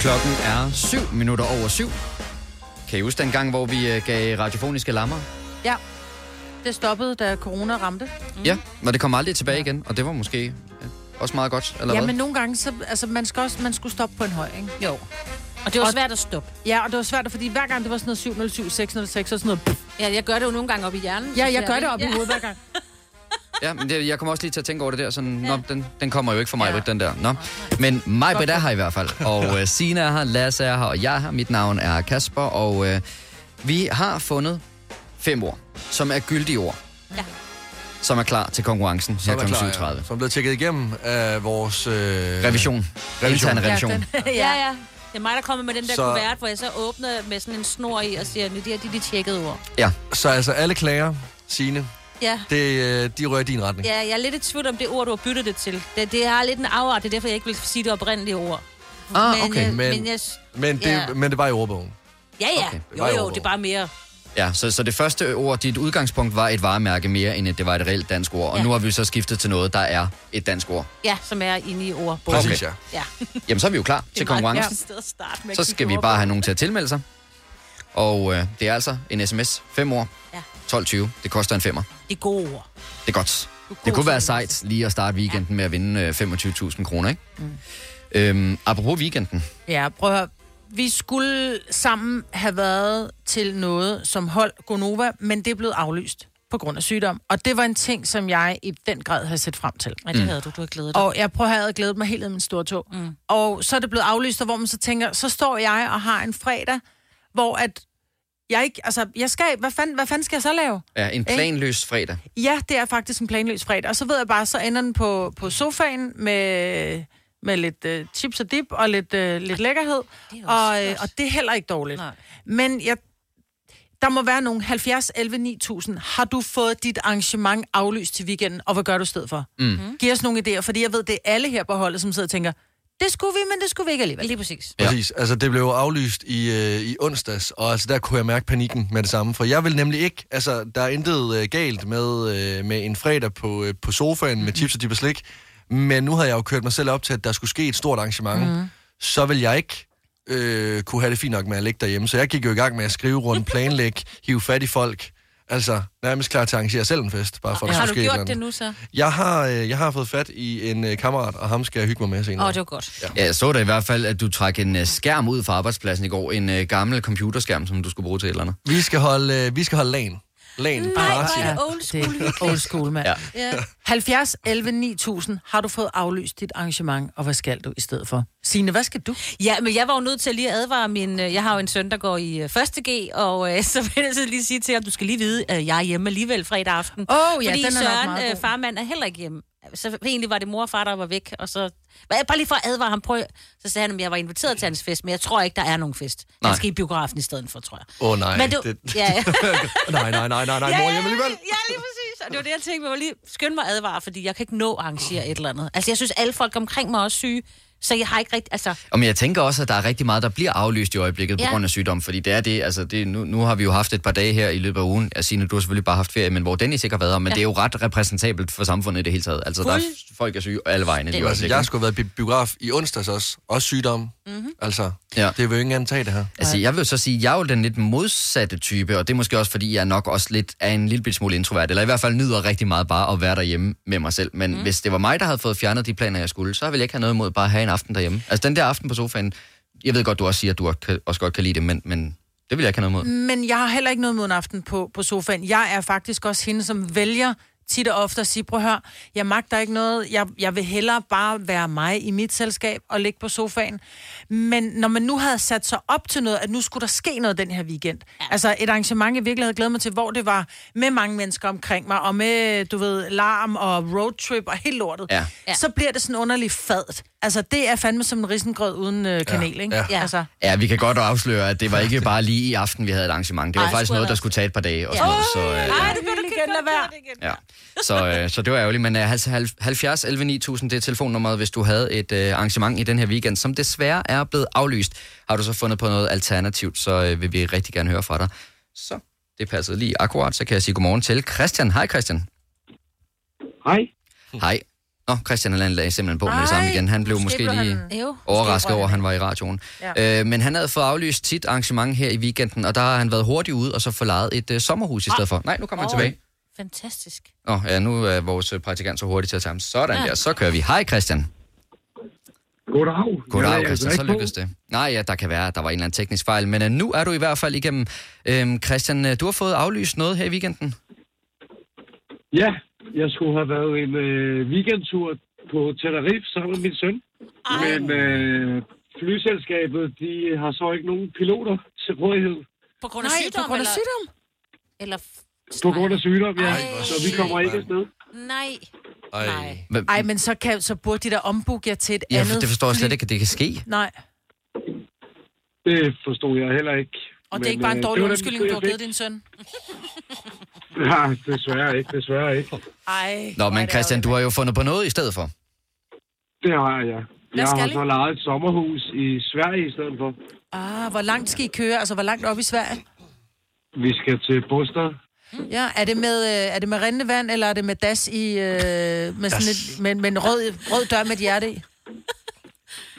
Speaker 1: Klokken er 7 minutter over 7. Kan I huske den gang, hvor vi øh, gav radiofoniske lammer?
Speaker 2: Ja. Det stoppede, da corona ramte.
Speaker 1: Mm. Ja, men det kom aldrig tilbage igen, og det var måske ja, også meget godt, eller
Speaker 2: ja,
Speaker 1: hvad?
Speaker 2: men nogle gange, så, altså, man, skal også, man skulle stoppe på en høj, ikke?
Speaker 6: Jo. Og det var svært at stoppe.
Speaker 2: Ja, og det var svært, fordi hver gang det var sådan noget 707, 606 og sådan noget. pff.
Speaker 6: Ja, jeg gør det jo nogle gange op i hjernen.
Speaker 2: Ja, jeg gør det op i hovedet hver gang.
Speaker 1: Ja, men det, jeg kommer også lige til at tænke over det der, sådan, ja. nå, den, den kommer jo ikke fra mig, ja. den der. Nå. Men mig, Britt er her i hvert fald, og øh, Sina er her, Lasse er her, og jeg er her. Mit navn er Kasper, og øh, vi har fundet fem ord, som er gyldige ord,
Speaker 6: Ja.
Speaker 1: som er klar til konkurrencen her
Speaker 4: er
Speaker 1: kl.
Speaker 4: klar, ja.
Speaker 1: 7.30.
Speaker 4: Som blev tjekket igennem af vores... Øh...
Speaker 1: Revision.
Speaker 4: Revision.
Speaker 1: Intern revision.
Speaker 6: ja, ja. Det er mig, der kommer med den der
Speaker 4: Så-
Speaker 6: så... kuvert, hvor jeg så åbner med sådan en snor i og siger, nu det her, de er de tjekkede ord.
Speaker 1: Ja.
Speaker 4: Så altså alle klager, Signe,
Speaker 6: Ja.
Speaker 4: det, øh, de rører i din retning.
Speaker 6: Ja, jeg er lidt i tvivl om det ord, du har byttet det til. Det, det er lidt en afart, det er derfor, jeg ikke vil sige det oprindelige ord.
Speaker 4: Ah,
Speaker 6: men,
Speaker 4: okay.
Speaker 6: øh,
Speaker 4: Men-
Speaker 6: men, jeg, s-
Speaker 4: Men det,
Speaker 6: ja.
Speaker 4: men det var i ordbogen.
Speaker 6: ja, ja. Okay.
Speaker 4: det
Speaker 6: Jo,
Speaker 4: var i
Speaker 6: jo,
Speaker 4: ord.
Speaker 6: det er bare mere.
Speaker 1: Ja, så, så det første ord, dit udgangspunkt var et varemærke mere, end at det var et reelt dansk ord. Og
Speaker 6: Ja.
Speaker 1: nu har vi så skiftet til noget, der er et dansk ord.
Speaker 6: Ja, som er inde i ord.
Speaker 1: Præcis, ja.
Speaker 6: ja.
Speaker 1: Jamen, så er vi jo klar til konkurrencen. Så skal vi bare have nogen til at tilmelde sig. Og øh, det er altså en sms. 5 år.
Speaker 6: Ja.
Speaker 1: 12.20. Det koster en femmer.
Speaker 6: De gode ord.
Speaker 1: Det er godt. Det kunne være sejt lige at starte weekenden med at vinde øh, 25.000 kroner, ikke? Mm. Øhm, apropos weekenden.
Speaker 2: Ja, prøv at høre. Vi skulle sammen have været til noget som hold Gonova, men det er blevet aflyst på grund af sygdom. Og det var en ting, som jeg i den grad havde set frem til.
Speaker 4: Mm.
Speaker 6: Ja, det havde du. Du har glædet dig.
Speaker 2: Og jeg prøver at have glædet mig helt af min store tog. Mm. Og så er det blevet aflyst, og hvor man så tænker, så står jeg og har en fredag, hvor at jeg ikke, altså, jeg skal, hvad fanden, hvad fanden skal jeg så lave?
Speaker 1: Ja, en
Speaker 2: Ikke?
Speaker 1: planløs fredag.
Speaker 2: Ja, det er faktisk en planløs fredag. Og så ved jeg bare, så ender den på, på sofaen med, med lidt øh, chips og dip og lidt, øh, lidt lækkerhed. Og, øh, og det er heller ikke dårligt. Nej. Men jeg, der må være nogle 70, 11, 9000. Har du fået dit arrangement aflyst til weekenden, og hvad gør du i stedet for? Mm-hmm.
Speaker 6: Mm. Mm.
Speaker 2: Giv os nogle idéer, fordi jeg ved, det er alle her på holdet, som sidder og tænker, det skulle vi, men det skulle vi ikke alligevel.
Speaker 6: Lige præcis.
Speaker 4: Præcis. Altså, det blev jo aflyst i, øh, i onsdags, og altså, der kunne jeg mærke panikken med det samme. For jeg vil nemlig ikke... Altså, der er intet øh, galt med, øh, med en fredag på, øh, på sofaen
Speaker 6: Mm.
Speaker 4: med chips og dip og slik. Men nu havde jeg jo kørt mig selv op til, at der skulle ske et stort arrangement.
Speaker 2: Mhm.
Speaker 4: Mm. Så vil jeg ikke øh, kunne have det fint nok med at ligge derhjemme. Så jeg gik jo i gang med at skrive rundt, planlægge, hive fat i folk. Altså, nærmest klar til at arrangere selv en fest, bare for at der
Speaker 6: har du
Speaker 4: skulle ske et
Speaker 6: gjort
Speaker 4: eller andet.
Speaker 6: det nu så?
Speaker 4: Jeg har, øh, jeg har fået fat i en øh, kammerat, og ham skal jeg hygge mig med senere.
Speaker 6: Åh, det var godt.
Speaker 1: Ja. Jeg så da i hvert fald, at du trak en øh, skærm ud fra arbejdspladsen i går. En øh, gammel computerskærm, som du skulle bruge til et eller andet.
Speaker 4: Vi skal holde, øh, vi skal holde LAN. Lan
Speaker 6: Mm.
Speaker 2: Nej,
Speaker 4: Party.
Speaker 2: hvor er det old school
Speaker 4: Det er
Speaker 2: hyggeligt. old school, mand.
Speaker 4: Ja.
Speaker 2: Ja. 70 11 9000 har du fået aflyst dit arrangement, og hvad skal du i stedet for? Signe, hvad skal du?
Speaker 6: Ja, men jeg var jo nødt til at lige at advare min... øh, Jeg har jo en søn, der går i 1. G, og øh, så vil jeg så lige sige til ham, du skal lige vide, at jeg er hjemme alligevel fredag aften.
Speaker 2: Åh, ja,
Speaker 6: Fordi
Speaker 2: den er nok
Speaker 6: Søren,
Speaker 2: meget god.
Speaker 6: øh, farmand, er heller ikke hjemme. Så egentlig var det mor og far, der var væk, og så... Hvad, Bare lige for at advare ham, prøv... Så sagde han, at jeg var inviteret til hans fest, men jeg tror ikke, der er nogen fest.
Speaker 4: Nej.
Speaker 6: Han skal i biografen i stedet for, tror jeg.
Speaker 4: Åh oh, nej.
Speaker 6: Men du- Ja, ja.
Speaker 4: nej, nej, nej, nej, nej, mor, jeg vil alligevel.
Speaker 6: Ja, lige præcis. Og det var det, jeg tænkte, jeg var lige skynde mig at advare, fordi jeg kan ikke nå at arrangere et eller andet. Altså, jeg synes, alle folk omkring mig er også syge, så jeg har ikke rigtig... Altså,
Speaker 1: Og men jeg tænker også, at der er rigtig meget, der bliver aflyst i øjeblikket ja.
Speaker 6: Ja.
Speaker 1: på grund af sygdom, fordi det er det, altså det, nu, nu har vi jo haft et par dage her i løbet af ugen, jeg siger, du har selvfølgelig bare haft ferie, men hvor Dennis ikke har været her, men
Speaker 6: Ja.
Speaker 1: ja. det er jo ret repræsentabelt for samfundet i det hele taget. Altså der er,
Speaker 6: Fuld-
Speaker 1: folk er syge alle vegne lige i
Speaker 4: Jo, altså,
Speaker 1: øjeblikket.
Speaker 4: jeg skulle have været bi- biograf i onsdags også. Også sygdom. Mm-hmm. Altså,
Speaker 1: Ja.
Speaker 4: det vil jo ikke engang tage det her.
Speaker 1: Altså, jeg vil så sige, jeg er jo den lidt modsatte type, og det er måske også, fordi jeg nok også lidt er en lille bit smule introvert, eller i hvert fald nyder rigtig meget bare at være derhjemme med mig selv. Men mm. hvis det var mig, der havde fået fjernet de planer, jeg skulle, så ville jeg ikke have noget imod bare at have en aften derhjemme. Altså, den der aften på sofaen, jeg ved godt, du også siger, at du også kan- også godt kan lide det, men, men det vil jeg ikke have noget imod.
Speaker 2: Men jeg har heller ikke noget mod en aften på, på sofaen. Jeg er faktisk også hende, som vælger tit og ofte at sige, prøv at høre, jeg magter ikke noget, jeg, jeg vil hellere bare være mig i mit selskab og ligge på sofaen. Men når man nu havde sat sig op til noget, at nu skulle der ske noget den her weekend, altså et arrangement, jeg virkelig havde glædet mig til, hvor det var med mange mennesker omkring mig, og med, du ved, larm og roadtrip og helt lortet,
Speaker 1: Ja.
Speaker 2: ja. så bliver det sådan underligt fadt. Altså, det er fandme som en risengrød uden øh, kanel, ikke?
Speaker 1: ja.
Speaker 2: Altså,
Speaker 1: Ja, vi kan godt afsløre, at det var ikke bare lige i aften, vi havde et arrangement. Det var
Speaker 2: Ej,
Speaker 1: faktisk
Speaker 2: skulle
Speaker 1: noget,
Speaker 2: have
Speaker 1: der skulle tage et par dage og
Speaker 2: Ja.
Speaker 1: sådan noget. Så, øh,
Speaker 2: Ej, du kan du kan lade være.
Speaker 1: Ja. Så, øh, så det var ærgerligt, men øh, altså, halv- 70 11 9000, det er telefonnummeret, hvis du havde et øh, arrangement i den her weekend, som desværre er blevet aflyst. Har du så fundet på noget alternativt, så øh, vil vi rigtig gerne høre fra dig. Så det passede lige akkurat, så kan jeg sige godmorgen til Christian. Hej Christian.
Speaker 15: Hej.
Speaker 1: Hej. Nå, Christian han lagde simpelthen på med det samme igen. Han blev
Speaker 6: Måske
Speaker 1: måske
Speaker 6: blev han-
Speaker 1: lige
Speaker 6: Jo.
Speaker 1: overrasket over, at han var i radioen.
Speaker 6: Ja.
Speaker 1: Ja. Øh, men han havde fået aflyst sit arrangement her i weekenden, og der har han været hurtig ude og så få lejet et øh, sommerhus i stedet for. Nej, nu kommer han
Speaker 6: Ah. Åh,
Speaker 1: tilbage.
Speaker 6: Fantastisk.
Speaker 1: Nå, ja, nu er vores praktikant så hurtig til at tage ham. Sådan
Speaker 6: Ja.
Speaker 1: ja. der, så kører vi. Hej Christian.
Speaker 15: Goddag.
Speaker 1: Goddag,
Speaker 15: Jeg er
Speaker 1: ja, Christian.
Speaker 15: altså
Speaker 1: Så
Speaker 15: ikke
Speaker 1: lykkedes det. Nej, ja, der kan være, at der var en eller anden teknisk fejl, men øh, nu er du i hvert fald igennem. Øhm, Christian, øh, du har fået aflyst noget her i weekenden.
Speaker 15: Ja, jeg skulle have været en øh, weekendtur på Tenerife sammen med min søn. Ej. Men øh, flyselskabet, de har så ikke nogen piloter til rådighed
Speaker 6: På grund af
Speaker 2: Nej,
Speaker 6: sygdom?
Speaker 2: på grund af
Speaker 6: eller?
Speaker 2: sygdom.
Speaker 6: Eller,
Speaker 15: på grund af sygdom, ja. Så vi kommer ikke afsted.
Speaker 6: nej.
Speaker 4: Ej.
Speaker 2: Ej, men så, kan, så burde de da ombooke jer til et
Speaker 1: Ja,
Speaker 2: andet
Speaker 1: for det forstår jeg
Speaker 2: fly.
Speaker 1: slet ikke, at det kan ske.
Speaker 2: Nej,
Speaker 15: Det forstod jeg heller ikke.
Speaker 2: og det er ikke bare en
Speaker 15: øh,
Speaker 2: dårlig
Speaker 15: det var den
Speaker 2: undskyldning, du har
Speaker 15: besked, jeg
Speaker 2: givet din søn.
Speaker 15: fik. Ja, desværre ikke, desværre ikke.
Speaker 2: Ej.
Speaker 1: Nå, men Christian, du har jo fundet på noget i stedet for.
Speaker 15: Det har jeg.
Speaker 2: Hvad
Speaker 15: Jeg
Speaker 2: skal
Speaker 15: har
Speaker 2: I?
Speaker 15: så lejet et sommerhus i Sverige i stedet for.
Speaker 2: Ah, hvor langt skal I køre? Altså, hvor langt op i Sverige?
Speaker 15: Vi skal til Bostad.
Speaker 2: Ja, er det med, øh, er det med rindende vand, eller er det med das i... Øh, med, sådan et, med, med en rød, rød dør med et hjerte i?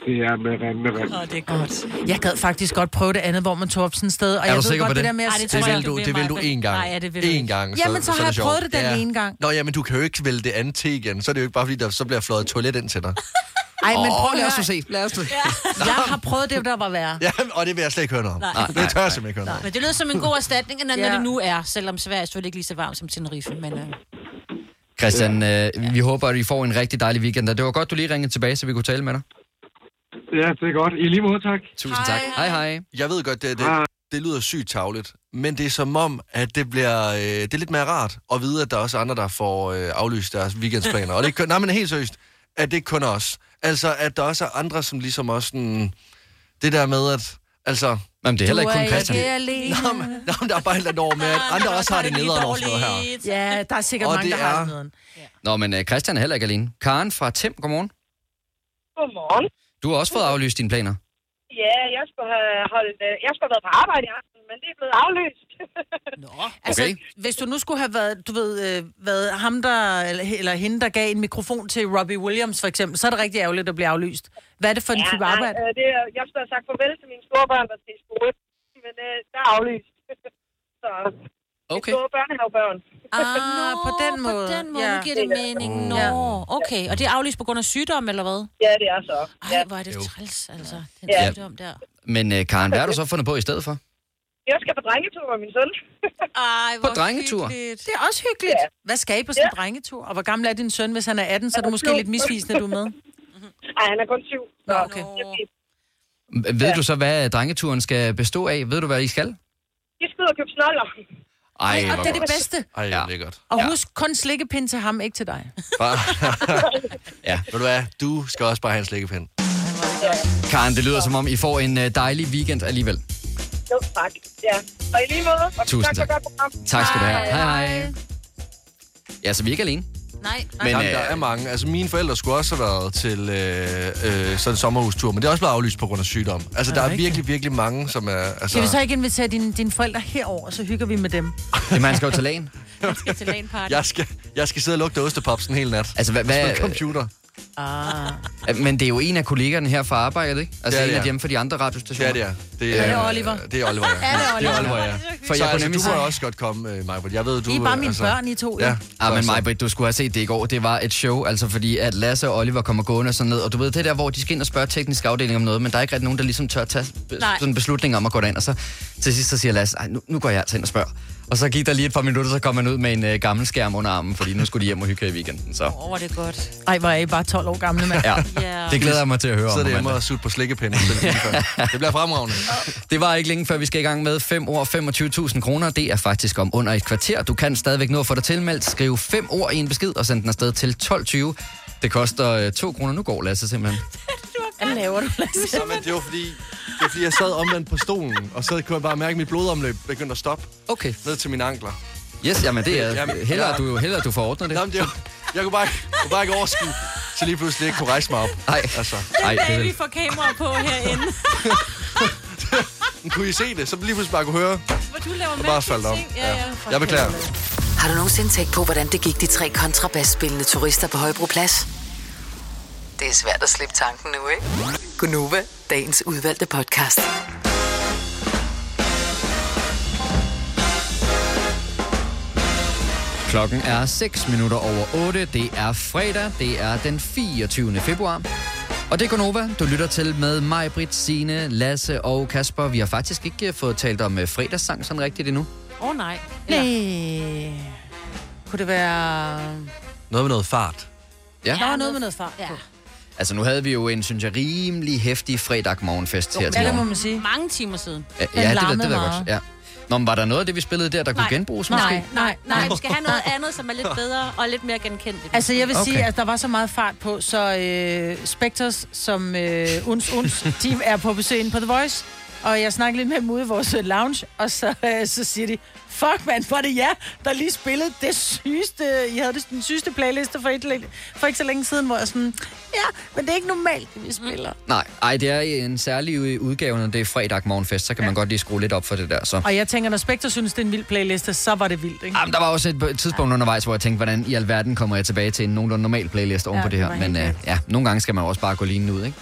Speaker 15: Det er med rand med rand.
Speaker 2: Åh, det er godt. Jeg gad faktisk godt prøve det andet, hvor man tog op sådan et sted. Og jeg
Speaker 4: du
Speaker 2: ved
Speaker 4: sikker
Speaker 2: godt,
Speaker 4: på
Speaker 2: det?
Speaker 4: det?
Speaker 2: der med at...
Speaker 4: Ej, det tror Det jeg vil ikke, du- det det vil vil du mig, men- én gang. Nej, ja, det vil jeg
Speaker 2: en
Speaker 4: Én ikke. gang, så-
Speaker 2: Jamen, så,
Speaker 4: så
Speaker 2: har
Speaker 4: er
Speaker 2: jeg
Speaker 4: det sjovt.
Speaker 2: prøvet det den
Speaker 4: Ja.
Speaker 2: ene gang.
Speaker 4: Nå ja, men du kan jo ikke vælge det andet til igen. Så er det jo ikke bare, fordi der, så bliver fløjet et toilet ind til dig.
Speaker 2: Ej, men
Speaker 4: Åh,
Speaker 2: prøv
Speaker 4: lad os nu
Speaker 2: at
Speaker 1: se. Lad os se.
Speaker 2: Jeg har prøvet det, der var værre.
Speaker 4: Ja, og det vil jeg slet ikke høre noget om.
Speaker 6: Nej.
Speaker 4: Nej,
Speaker 6: Nej,
Speaker 4: det tør jeg simpelthen ikke høre noget om.
Speaker 6: Men det lyder som en god erstatning, når
Speaker 2: Ja.
Speaker 6: ja. det nu er, selvom Sverige er selvfølgelig ikke lige så varmt som Tenerife. Men, øh,
Speaker 1: Christian, øh, vi håber, at I får en rigtig dejlig weekend, og det var godt, du lige ringede tilbage, så vi kunne tale med dig.
Speaker 15: Ja, det er godt. I lige måde, tak.
Speaker 1: Tusind tak. Hej, hej.
Speaker 4: Jeg ved godt, det, det, det lyder sygt tavligt, men det er som om, at det bliver øh, det er lidt mere rart at vide, at der er også andre, der får øh, aflyst deres weekendsplaner. og det er, ikke kun- nej, men helt seriøst, at det ikke kun er os. Altså, at der også er andre, som ligesom også sådan, det der med, at altså...
Speaker 1: Jamen, det er heller ikke kun
Speaker 2: Det er alene.
Speaker 4: Nå, men, nå, men der er bare et eller andet over med, at andre også har det nederen over sådan noget her.
Speaker 2: Ja, der er sikkert
Speaker 4: Og
Speaker 2: mange,
Speaker 4: det
Speaker 2: der har
Speaker 4: er-
Speaker 2: det nederen.
Speaker 1: Nå, men øh, Christian er heller ikke alene. Karen fra Tim, godmorgen.
Speaker 16: Godmorgen.
Speaker 1: Du har også fået aflyst dine planer.
Speaker 16: Ja, jeg skulle have, holdt, øh, jeg skulle have været på arbejde i aften, men det er blevet aflyst.
Speaker 2: Altså, hvis du nu skulle have været, du ved, øh, været ham der, eller, eller hende, der gav en mikrofon til Robbie Williams, for eksempel, så er det rigtig ærgerligt at blive aflyst. Hvad er det for en type
Speaker 16: nej,
Speaker 2: arbejde?
Speaker 16: øh, det er, jeg skulle have sagt farvel til mine store børn, der skal i skole, men øh, der er aflyst. Så
Speaker 1: okay.
Speaker 16: mine store børnehavebørn.
Speaker 2: Ah, på den måde.
Speaker 6: på den måde ja. giver det
Speaker 15: Mm.
Speaker 6: mening. Nå, okay. Og det er aflyst på grund af sygdom, eller hvad?
Speaker 16: Ja, det er så.
Speaker 6: Ej, hvor er det træls, altså. Den
Speaker 1: Ja.
Speaker 6: sygdom der.
Speaker 1: Men øh, Karen, hvad har du så fundet på i stedet for?
Speaker 16: Jeg skal på drengetur med min søn.
Speaker 6: Ej,
Speaker 2: På drengetur?
Speaker 6: Hyggeligt.
Speaker 2: Det er også hyggeligt. Ja. Hvad skal I på sådan en ja. drengetur? Og hvor gammel er din søn, hvis han er 18? Så er det måske lidt misvisende, du er med.
Speaker 16: Nej, han er kun syv.
Speaker 2: Nå, okay.
Speaker 1: Ved du så, hvad drengeturen skal bestå af? Ved du, hvad I skal?
Speaker 16: De skal ud og købe snoller.
Speaker 1: Ej,
Speaker 2: og
Speaker 1: hvor
Speaker 2: det er det
Speaker 1: godt.
Speaker 2: bedste.
Speaker 1: Ej, ja. lækkert.
Speaker 2: Og husk kun slikkepind til ham, ikke til dig.
Speaker 4: ja. Ved du hvad? Du skal også bare have en slikkepind.
Speaker 1: Karen, det lyder som om, I får en øh, dejlig weekend alligevel.
Speaker 16: Jo, tak. Ja. Og i lige måde. Og
Speaker 1: Tusind
Speaker 16: for
Speaker 1: tak.
Speaker 16: godt program.
Speaker 1: Tak skal du have. Hej, hej. Ja, så vi er ikke alene. øh,
Speaker 6: Nej,
Speaker 4: Men Jamen, der er mange. Altså, mine forældre skulle også have været til øh, øh, sådan en sommerhustur, men det er også blevet aflyst på grund af sygdom. Altså,
Speaker 2: Er
Speaker 4: der
Speaker 2: det
Speaker 4: er virkelig, virkelig mange, som er... Altså,
Speaker 2: Kan vi så ikke invitere dine, dine forældre herover, så hygger vi med dem?
Speaker 1: Jamen, han skal jo til lægen.
Speaker 6: Han skal til LAN-party.
Speaker 4: jeg, skal, jeg skal sidde og lugte ostepopsen en hel nat.
Speaker 1: Altså, hvad... hvad
Speaker 4: Spille computer.
Speaker 2: Ah.
Speaker 1: Men det er jo en af kollegerne her fra arbejdet, ikke? Altså,
Speaker 4: Ja,
Speaker 1: ja,
Speaker 4: det
Speaker 1: en
Speaker 4: er.
Speaker 1: af dem fra de andre radiostationer.
Speaker 4: Ja, det er. Det
Speaker 2: Er
Speaker 4: er,
Speaker 2: det Oliver?
Speaker 4: Det er Oliver, ja.
Speaker 2: Er det Oliver?
Speaker 4: Det er Oliver, ja.
Speaker 1: For
Speaker 4: For
Speaker 1: jeg
Speaker 4: jeg
Speaker 1: kunne
Speaker 4: altså,
Speaker 1: nemlig
Speaker 4: du må
Speaker 1: sige-
Speaker 4: også godt komme, øh, Majbert. Jeg ved, du...
Speaker 2: I er bare
Speaker 4: øh,
Speaker 2: mine
Speaker 4: altså,
Speaker 2: børn, I to, jo.
Speaker 4: Ja.
Speaker 1: Ah, men
Speaker 4: Altså.
Speaker 1: mig, du skulle have set det i går. Det var et show, altså fordi at Lasse og Oliver kommer gående sådan ned. Og du ved, det der, hvor de skal ind og spørge teknisk afdeling om noget, men der er ikke rigtig nogen, der ligesom tør tage be-
Speaker 6: Nej.
Speaker 1: sådan en beslutning om at gå derind. Og så til sidst så siger Lasse, "Ej, nu, nu går jeg altså ind og spørger. Og så gik der lige et par minutter, så kom han ud med en øh, gammel skærm under armen, fordi nu skulle de hjem og hygge her i weekenden. Så
Speaker 6: Åh, oh, det er godt.
Speaker 2: Ej, hvor er I bare 12 år gamle, mand.
Speaker 1: ja,
Speaker 6: Ja.
Speaker 1: det glæder jeg mig til at høre om. på
Speaker 4: Sidder derhjemme
Speaker 1: mandag.
Speaker 4: og sutter på slikkepinden. det bliver fremragende.
Speaker 1: Det var ikke længe før, vi skal i gang med 5 ord 25.000 kroner. Det er faktisk om under et kvarter. Du kan stadigvæk nå at få dig tilmeldt. Skriv 5 ord i en besked og send den afsted til 12.20. Det koster 2 kroner. Nu går Lasse simpelthen.
Speaker 2: Hvad laver du, Lasse?
Speaker 4: Jamen, det var fordi, det var fordi, jeg sad omvendt på stolen, og så kunne jeg bare mærke, at mit blodomløb begyndte at stoppe.
Speaker 1: Okay.
Speaker 4: Ned til mine ankler.
Speaker 1: Yes, jamen det er...
Speaker 4: Jamen,
Speaker 1: Hellere,
Speaker 4: ja.
Speaker 1: du, hellere du får ordnet det.
Speaker 4: Jamen, det var, jeg kunne bare, ikke- kunne bare ikke overskue, så lige pludselig ikke kunne rejse mig op.
Speaker 1: Nej.
Speaker 4: Altså,
Speaker 1: Ej, det
Speaker 6: Vi
Speaker 1: er...
Speaker 6: får kamera på herinde,
Speaker 4: kunne I se det? Så lige pludselig bare kunne høre.
Speaker 6: hvor du laver
Speaker 4: Jeg bare faldt om. Ja. Jeg beklager.
Speaker 5: Har du nogensinde tænkt på, hvordan det gik de tre kontrabasspillende turister på Højbroplads? Det er svært at slippe tanken nu, ikke? Gunova, dagens udvalgte podcast.
Speaker 1: Klokken er 6 minutter over 8. Det er fredag. Det er den 24. februar. Og det er Gonova, du lytter til med mig, Britt, Signe, Lasse og Kasper. Vi har faktisk ikke øh, fået talt om øh, fredagssang sådan rigtigt endnu.
Speaker 6: Åh, oh, nej.
Speaker 2: Nej. Kunne det være...
Speaker 4: Noget med noget fart.
Speaker 1: Ja.
Speaker 2: Der var noget med noget far. Ja.
Speaker 1: Altså, nu havde vi jo en, synes jeg, rimelig hæftig fredag morgenfest her til
Speaker 2: Ja, det må
Speaker 1: morgen.
Speaker 2: man sige.
Speaker 6: Mange timer siden.
Speaker 1: Ja, ja, det, ved- det ved jeg godt. Ja. Nå, men var der noget af det, vi spillede der, der kunne genbruges
Speaker 6: nej,
Speaker 1: måske?
Speaker 6: Nej, nej, nej. Vi skal have noget andet, som er lidt bedre og lidt mere genkendeligt.
Speaker 2: Altså, jeg vil okay. sige,
Speaker 1: Okay.
Speaker 2: at der var så meget fart på, så øh, Spectres, som øh, uns, uns, de er på besøg inde på The Voice, og jeg snakkede lidt med dem ude i vores øh, lounge, og så, øh, så siger de, fuck mand, var det jer, der lige spillede det sygeste, I havde det, den sygeste playliste for, et, for ikke så længe siden, hvor jeg sådan, ja, men det er ikke normalt, det vi spiller.
Speaker 1: Nej, ej, det er en særlig udgave, når det er fredag morgenfest, så kan man godt lige skrue lidt op for det der. Så.
Speaker 2: Og jeg tænker, når Spectre synes, det er en vild playliste, så var det vildt, ikke?
Speaker 1: Jamen, der var også et tidspunkt undervejs, hvor jeg tænkte, hvordan i alverden kommer jeg tilbage til en nogenlunde normal playlist oven
Speaker 2: Ja,
Speaker 1: på det
Speaker 2: det
Speaker 1: her.
Speaker 2: var
Speaker 1: Men
Speaker 2: helt
Speaker 1: øh, ja, nogle gange skal man jo også bare gå lige ud, ikke?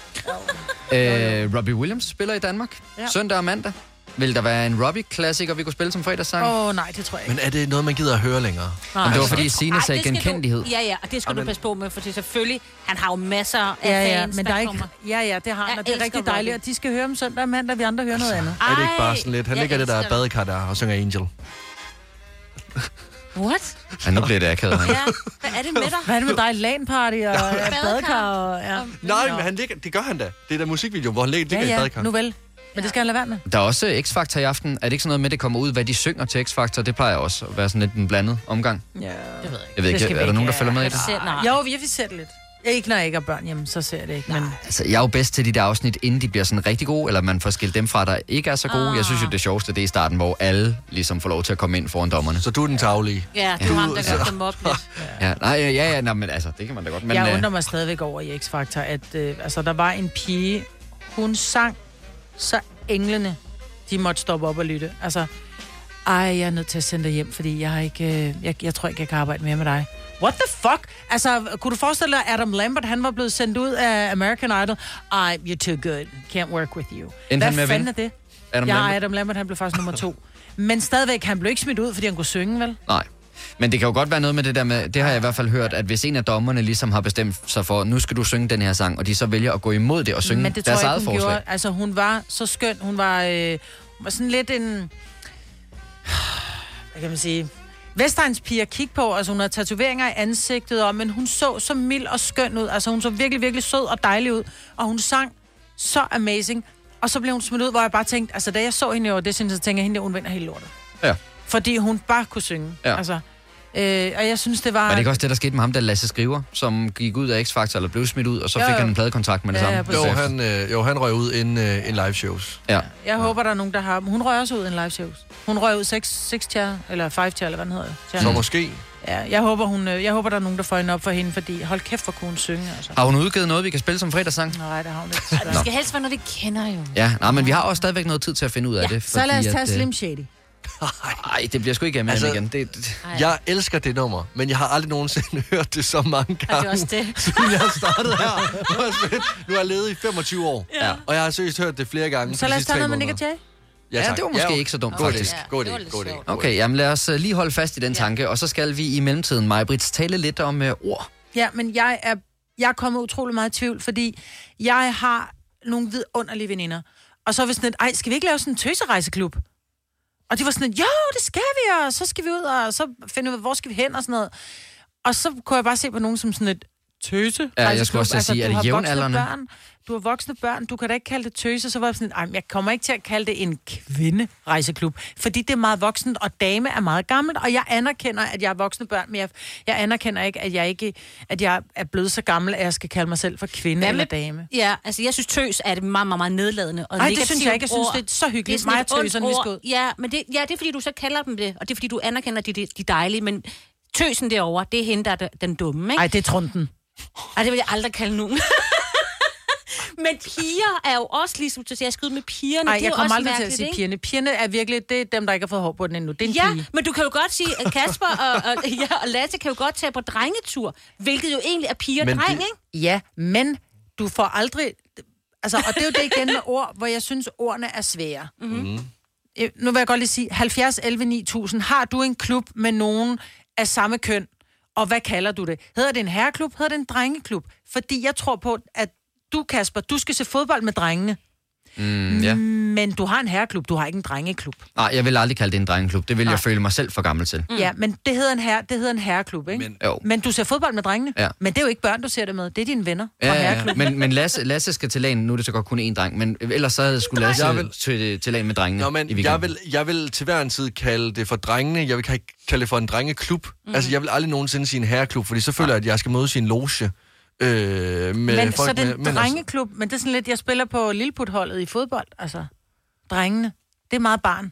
Speaker 1: øh, Robbie Williams spiller i Danmark.
Speaker 2: Ja.
Speaker 1: Ja. Søndag og mandag. Vil der være en Robbie-klassiker, vi kunne spille som fredagssang?
Speaker 2: Åh, oh, nej, det tror jeg ikke.
Speaker 4: Men er det noget, man gider at høre længere?
Speaker 1: Nej. Jamen, det var fordi
Speaker 6: Altså,
Speaker 1: Signe
Speaker 6: ej,
Speaker 1: sagde
Speaker 6: det skal
Speaker 1: genkendelighed.
Speaker 6: Du, ja, ja, og det skal
Speaker 1: Jamen.
Speaker 6: du passe på med, for det er selvfølgelig, han har jo masser af
Speaker 2: Ja, ja,
Speaker 6: fans,
Speaker 2: men der er ikke...
Speaker 6: kommer.
Speaker 2: Ja, ja, det har han,
Speaker 6: Jeg
Speaker 2: og det er
Speaker 6: elsker
Speaker 2: rigtig dejligt,
Speaker 6: Robbie.
Speaker 2: og de skal høre om søndag og mandag, vi andre hører noget andet.
Speaker 4: Er det ikke bare sådan lidt? Han
Speaker 6: jeg
Speaker 4: ligger i det der
Speaker 6: elsker
Speaker 4: badekar der og synger Angel.
Speaker 6: What?
Speaker 1: Ja, nu bliver det akavet.
Speaker 6: Ja, hvad er det med dig?
Speaker 2: Hvad er det med dig? LAN-party og øh, badekar? Og, ja.
Speaker 4: Nej, men han ligger, det gør han da. Det er der musikvideo, hvor han ligger, ligger i
Speaker 2: ja, ja,
Speaker 4: badekar.
Speaker 2: nu vel. Men det skal han lade være med.
Speaker 1: Der er også øh, X-Factor i aften. Er det ikke sådan noget med, at det kommer ud, hvad de synger til X-Factor? Det plejer også at være sådan lidt en blandet omgang.
Speaker 2: Ja. Det ved
Speaker 1: Jeg ved ikke, er der nogen, der følger med i det?
Speaker 2: Nej. Jo, vi vi ser det lidt. Ikke når jeg ikke har børn hjemme, så ser jeg det ikke. Men
Speaker 1: Altså, jeg er jo bedst til de der afsnit, inden de bliver sådan rigtig gode, eller man får skilt dem fra, der ikke er så gode. Jeg
Speaker 2: Ah.
Speaker 1: synes jo, det sjoveste, det er i starten, hvor alle ligesom får lov til at komme ind foran dommerne.
Speaker 4: Så du er den taglige?
Speaker 6: Ja, det var ham, der gør dem op lidt.
Speaker 1: Ja, nej, ja, ja, ja, nej, men altså, det kan man da godt. Men,
Speaker 2: Men, jeg
Speaker 1: øh,
Speaker 2: undrer mig stadigvæk over i X-Factor, at øh, altså, der var en pige, hun sang, så englene, de måtte stoppe op og lytte. Altså, ej, jeg er nødt til at sende dig hjem, fordi jeg, har ikke, øh, jeg, jeg tror ikke, jeg kan arbejde mere med dig. What the fuck? Altså, kunne du forestille dig, Adam Lambert, han var blevet sendt ud af American Idol? Ej, you're too good. Can't work with you.
Speaker 1: Endte han med
Speaker 2: Hvad
Speaker 1: at
Speaker 2: fanden er
Speaker 1: vinde?
Speaker 2: det?
Speaker 1: Adam
Speaker 2: Adam ja,
Speaker 1: Lambert?
Speaker 2: Lambert. Adam Lambert, han blev faktisk nummer to. Men stadigvæk, han blev ikke smidt ud, fordi han kunne synge, vel?
Speaker 1: Nej. Men det kan jo godt være noget med det der med, det har jeg i hvert fald hørt, at hvis en af dommerne ligesom har bestemt sig for, nu skal du synge den her sang, og de så vælger at gå imod det og synge
Speaker 2: Men det tror
Speaker 1: deres
Speaker 2: jeg
Speaker 1: eget
Speaker 2: ikke, hun
Speaker 1: forslag.
Speaker 2: gjorde. Altså, hun var så skøn. Hun var... Øh, var sådan lidt en... Hvad kan man sige? Vestegns piger kigge på, altså hun havde tatoveringer i ansigtet, og, men hun så så mild og skøn ud. Altså hun så virkelig, virkelig sød og dejlig ud, og hun sang så amazing. Og så blev hun smidt ud, hvor jeg bare tænkte, altså da jeg så hende over det, synes jeg, tænkte jeg, hende der, hun vinder hele lortet.
Speaker 1: Ja.
Speaker 2: Fordi hun bare kunne synge.
Speaker 1: Ja.
Speaker 2: Altså, øh, og jeg synes, det var...
Speaker 1: Var det ikke også det, der skete med ham, der Lasse Skriver, som gik ud af X-Factor, eller blev smidt ud, og så
Speaker 2: Jo,
Speaker 1: fik
Speaker 2: jo.
Speaker 1: han en pladekontrakt med det
Speaker 2: Ja,
Speaker 1: samme?
Speaker 2: ja, præcis.
Speaker 4: Jo, han, øh, jo, han røg ud inden, øh, inden live shows.
Speaker 1: Ja.
Speaker 2: Jeg håber, der er nogen, der har... Hun røg også ud i en live shows. Hun røg ud 6, 6 tier, eller 5 tier, eller hvad den hedder. Tier.
Speaker 4: Så måske.
Speaker 2: Ja, jeg håber, hun, øh, jeg håber, der er nogen, der får hende op for hende, fordi hold kæft, hvor kunne hun synge, altså.
Speaker 1: Har hun udgivet noget, vi kan spille som fredagssang?
Speaker 2: Nej, det har hun ikke.
Speaker 1: Nå.
Speaker 6: Det skal helst være noget, vi kender jo.
Speaker 1: Ja, nej, men vi har også stadigvæk noget tid til at finde ud af det.
Speaker 2: Så lad os tage
Speaker 4: øh,
Speaker 2: Slim Shady.
Speaker 1: Nej, det bliver sgu ikke Eminem
Speaker 4: Altså,
Speaker 1: altså, igen. Det, det.
Speaker 2: Ej.
Speaker 4: Jeg elsker det nummer, men jeg har aldrig nogensinde hørt det så mange gange.
Speaker 6: Og det er også det.
Speaker 4: Siden jeg startede her. Nu har jeg smidt- Nu har jeg levet i 25 år,
Speaker 1: Ja.
Speaker 4: og jeg har seriøst hørt det flere gange.
Speaker 2: Så
Speaker 4: de
Speaker 2: lad os
Speaker 4: sidste
Speaker 2: tage
Speaker 4: tre
Speaker 2: noget med Nick
Speaker 4: måneder.
Speaker 2: og Jay.
Speaker 1: Ja,
Speaker 4: tak.
Speaker 1: det var måske ikke så dumt,
Speaker 4: god idé.
Speaker 1: faktisk.
Speaker 4: God idé, god idé.
Speaker 1: Okay, jamen lad os øh, lige holde fast i den tanke, og så skal vi i mellemtiden, Majbrits, tale lidt om øh, ord.
Speaker 2: Ja, men jeg er, jeg er kommet utrolig meget i tvivl, fordi jeg har nogle vidunderlige veninder. Og så var vi sådan et, ej, skal vi ikke lave sådan en tøserejseklub? Og de var sådan et, jo, det skal vi, og så skal vi ud, og så finder vi, hvor skal vi hen, og sådan noget. Og så kunne jeg bare se på nogen som sådan et tøse. Altså,
Speaker 1: Ja, jeg skulle også til at sige, er
Speaker 2: du
Speaker 1: det
Speaker 2: har voksne
Speaker 1: jævnaldrende?
Speaker 2: Børn, du har voksne børn, du kan da ikke kalde det tøse. Så var jeg sådan, et, ej, men jeg kommer ikke til at kalde det en kvinderejseklub, fordi det er meget voksent, og dame er meget gammelt, og jeg anerkender, at jeg er voksne børn, men jeg, jeg anerkender ikke, at jeg ikke at jeg er blevet så gammel, at jeg skal kalde mig selv for kvinde
Speaker 6: Hvad
Speaker 2: eller
Speaker 6: med-
Speaker 2: dame.
Speaker 6: Ja, altså jeg synes tøs er et meget, meget, meget nedladende
Speaker 2: Ej,
Speaker 6: og
Speaker 2: det
Speaker 6: negativt
Speaker 2: synes jeg ikke. Jeg synes,
Speaker 6: ord.
Speaker 2: det er så hyggeligt.
Speaker 6: sådan
Speaker 2: Mig
Speaker 6: et
Speaker 2: og
Speaker 6: ondt
Speaker 2: tøserne, vi skal
Speaker 6: ord.
Speaker 2: ud.
Speaker 6: Ja, men det, ja, det er fordi, du så kalder dem det, og det er fordi, du anerkender, at de, de, de er dejlige, men tøsen derovre, det er hende, der er d- den dumme, ikke?
Speaker 2: Nej, det er trunden.
Speaker 6: Ej, det vil jeg aldrig kalde nogen. men piger er jo også ligesom, så jeg skal ud med pigerne.
Speaker 2: Nej,
Speaker 6: det er
Speaker 2: jeg
Speaker 6: jo
Speaker 2: kommer
Speaker 6: også
Speaker 2: aldrig til at
Speaker 6: mærkeligt,
Speaker 2: sige
Speaker 6: ikke?
Speaker 2: pigerne. Pigerne er virkelig, det er dem, der ikke har fået hår på den endnu. Det er en
Speaker 6: Ja,
Speaker 2: pige.
Speaker 6: men du kan jo godt sige, at Kasper og, og, ja, og Lasse kan jo godt tage på drengetur, hvilket jo egentlig er piger og
Speaker 2: Men
Speaker 6: dreng,
Speaker 2: det-
Speaker 6: ikke?
Speaker 2: Ja, men du får aldrig... Altså, og det er jo det igen med ord, hvor jeg synes, ordene er svære. Mm-hmm. Nu vil jeg godt lige sige, 70 11 9000, har du en klub med nogen af samme køn? Og hvad kalder du det? Hedder det en herreklub? Hedder det en drengeklub? Fordi jeg tror på, at du, Kasper, du skal se fodbold med drengene.
Speaker 1: Mm, ja.
Speaker 2: Men du har en herreklub, du har ikke en drengeklub.
Speaker 1: Nej, jeg vil aldrig kalde det en drengeklub. Det vil jeg føle mig selv for gammel til.
Speaker 2: Mm. Ja, men det hedder en, herre, det hedder en herreklub, ikke? Men,
Speaker 1: jo.
Speaker 2: men du ser fodbold med drengene.
Speaker 1: Ja.
Speaker 2: Men det er jo ikke børn, du ser det med. Det er dine venner fra
Speaker 1: Ja, ja, ja.
Speaker 2: herreklubben.
Speaker 1: men, men Lasse, Lasse skal til lagen. Nu er det så godt kun én dreng, men ellers så havde skulle Lasse
Speaker 4: Jeg vil-
Speaker 1: til, til lagen med drengene
Speaker 4: Nå,
Speaker 1: i
Speaker 4: men
Speaker 1: weekenden.
Speaker 4: jeg vil, jeg vil til hver en tid kalde det for drengene. Jeg vil ikke kalde det for en drengeklub.
Speaker 2: Mhm.
Speaker 4: Mm. Altså, jeg vil aldrig nogensinde sige en herreklub, fordi så føler jeg, at jeg skal møde sin loge. Øh, med
Speaker 2: men
Speaker 4: folk
Speaker 2: så det er
Speaker 4: med,
Speaker 2: en
Speaker 4: men altså- også-
Speaker 2: drengeklub, men det er sådan lidt, jeg spiller på Lilleput-holdet i fodbold, altså. Drengene. Det er meget barn.
Speaker 1: Jamen,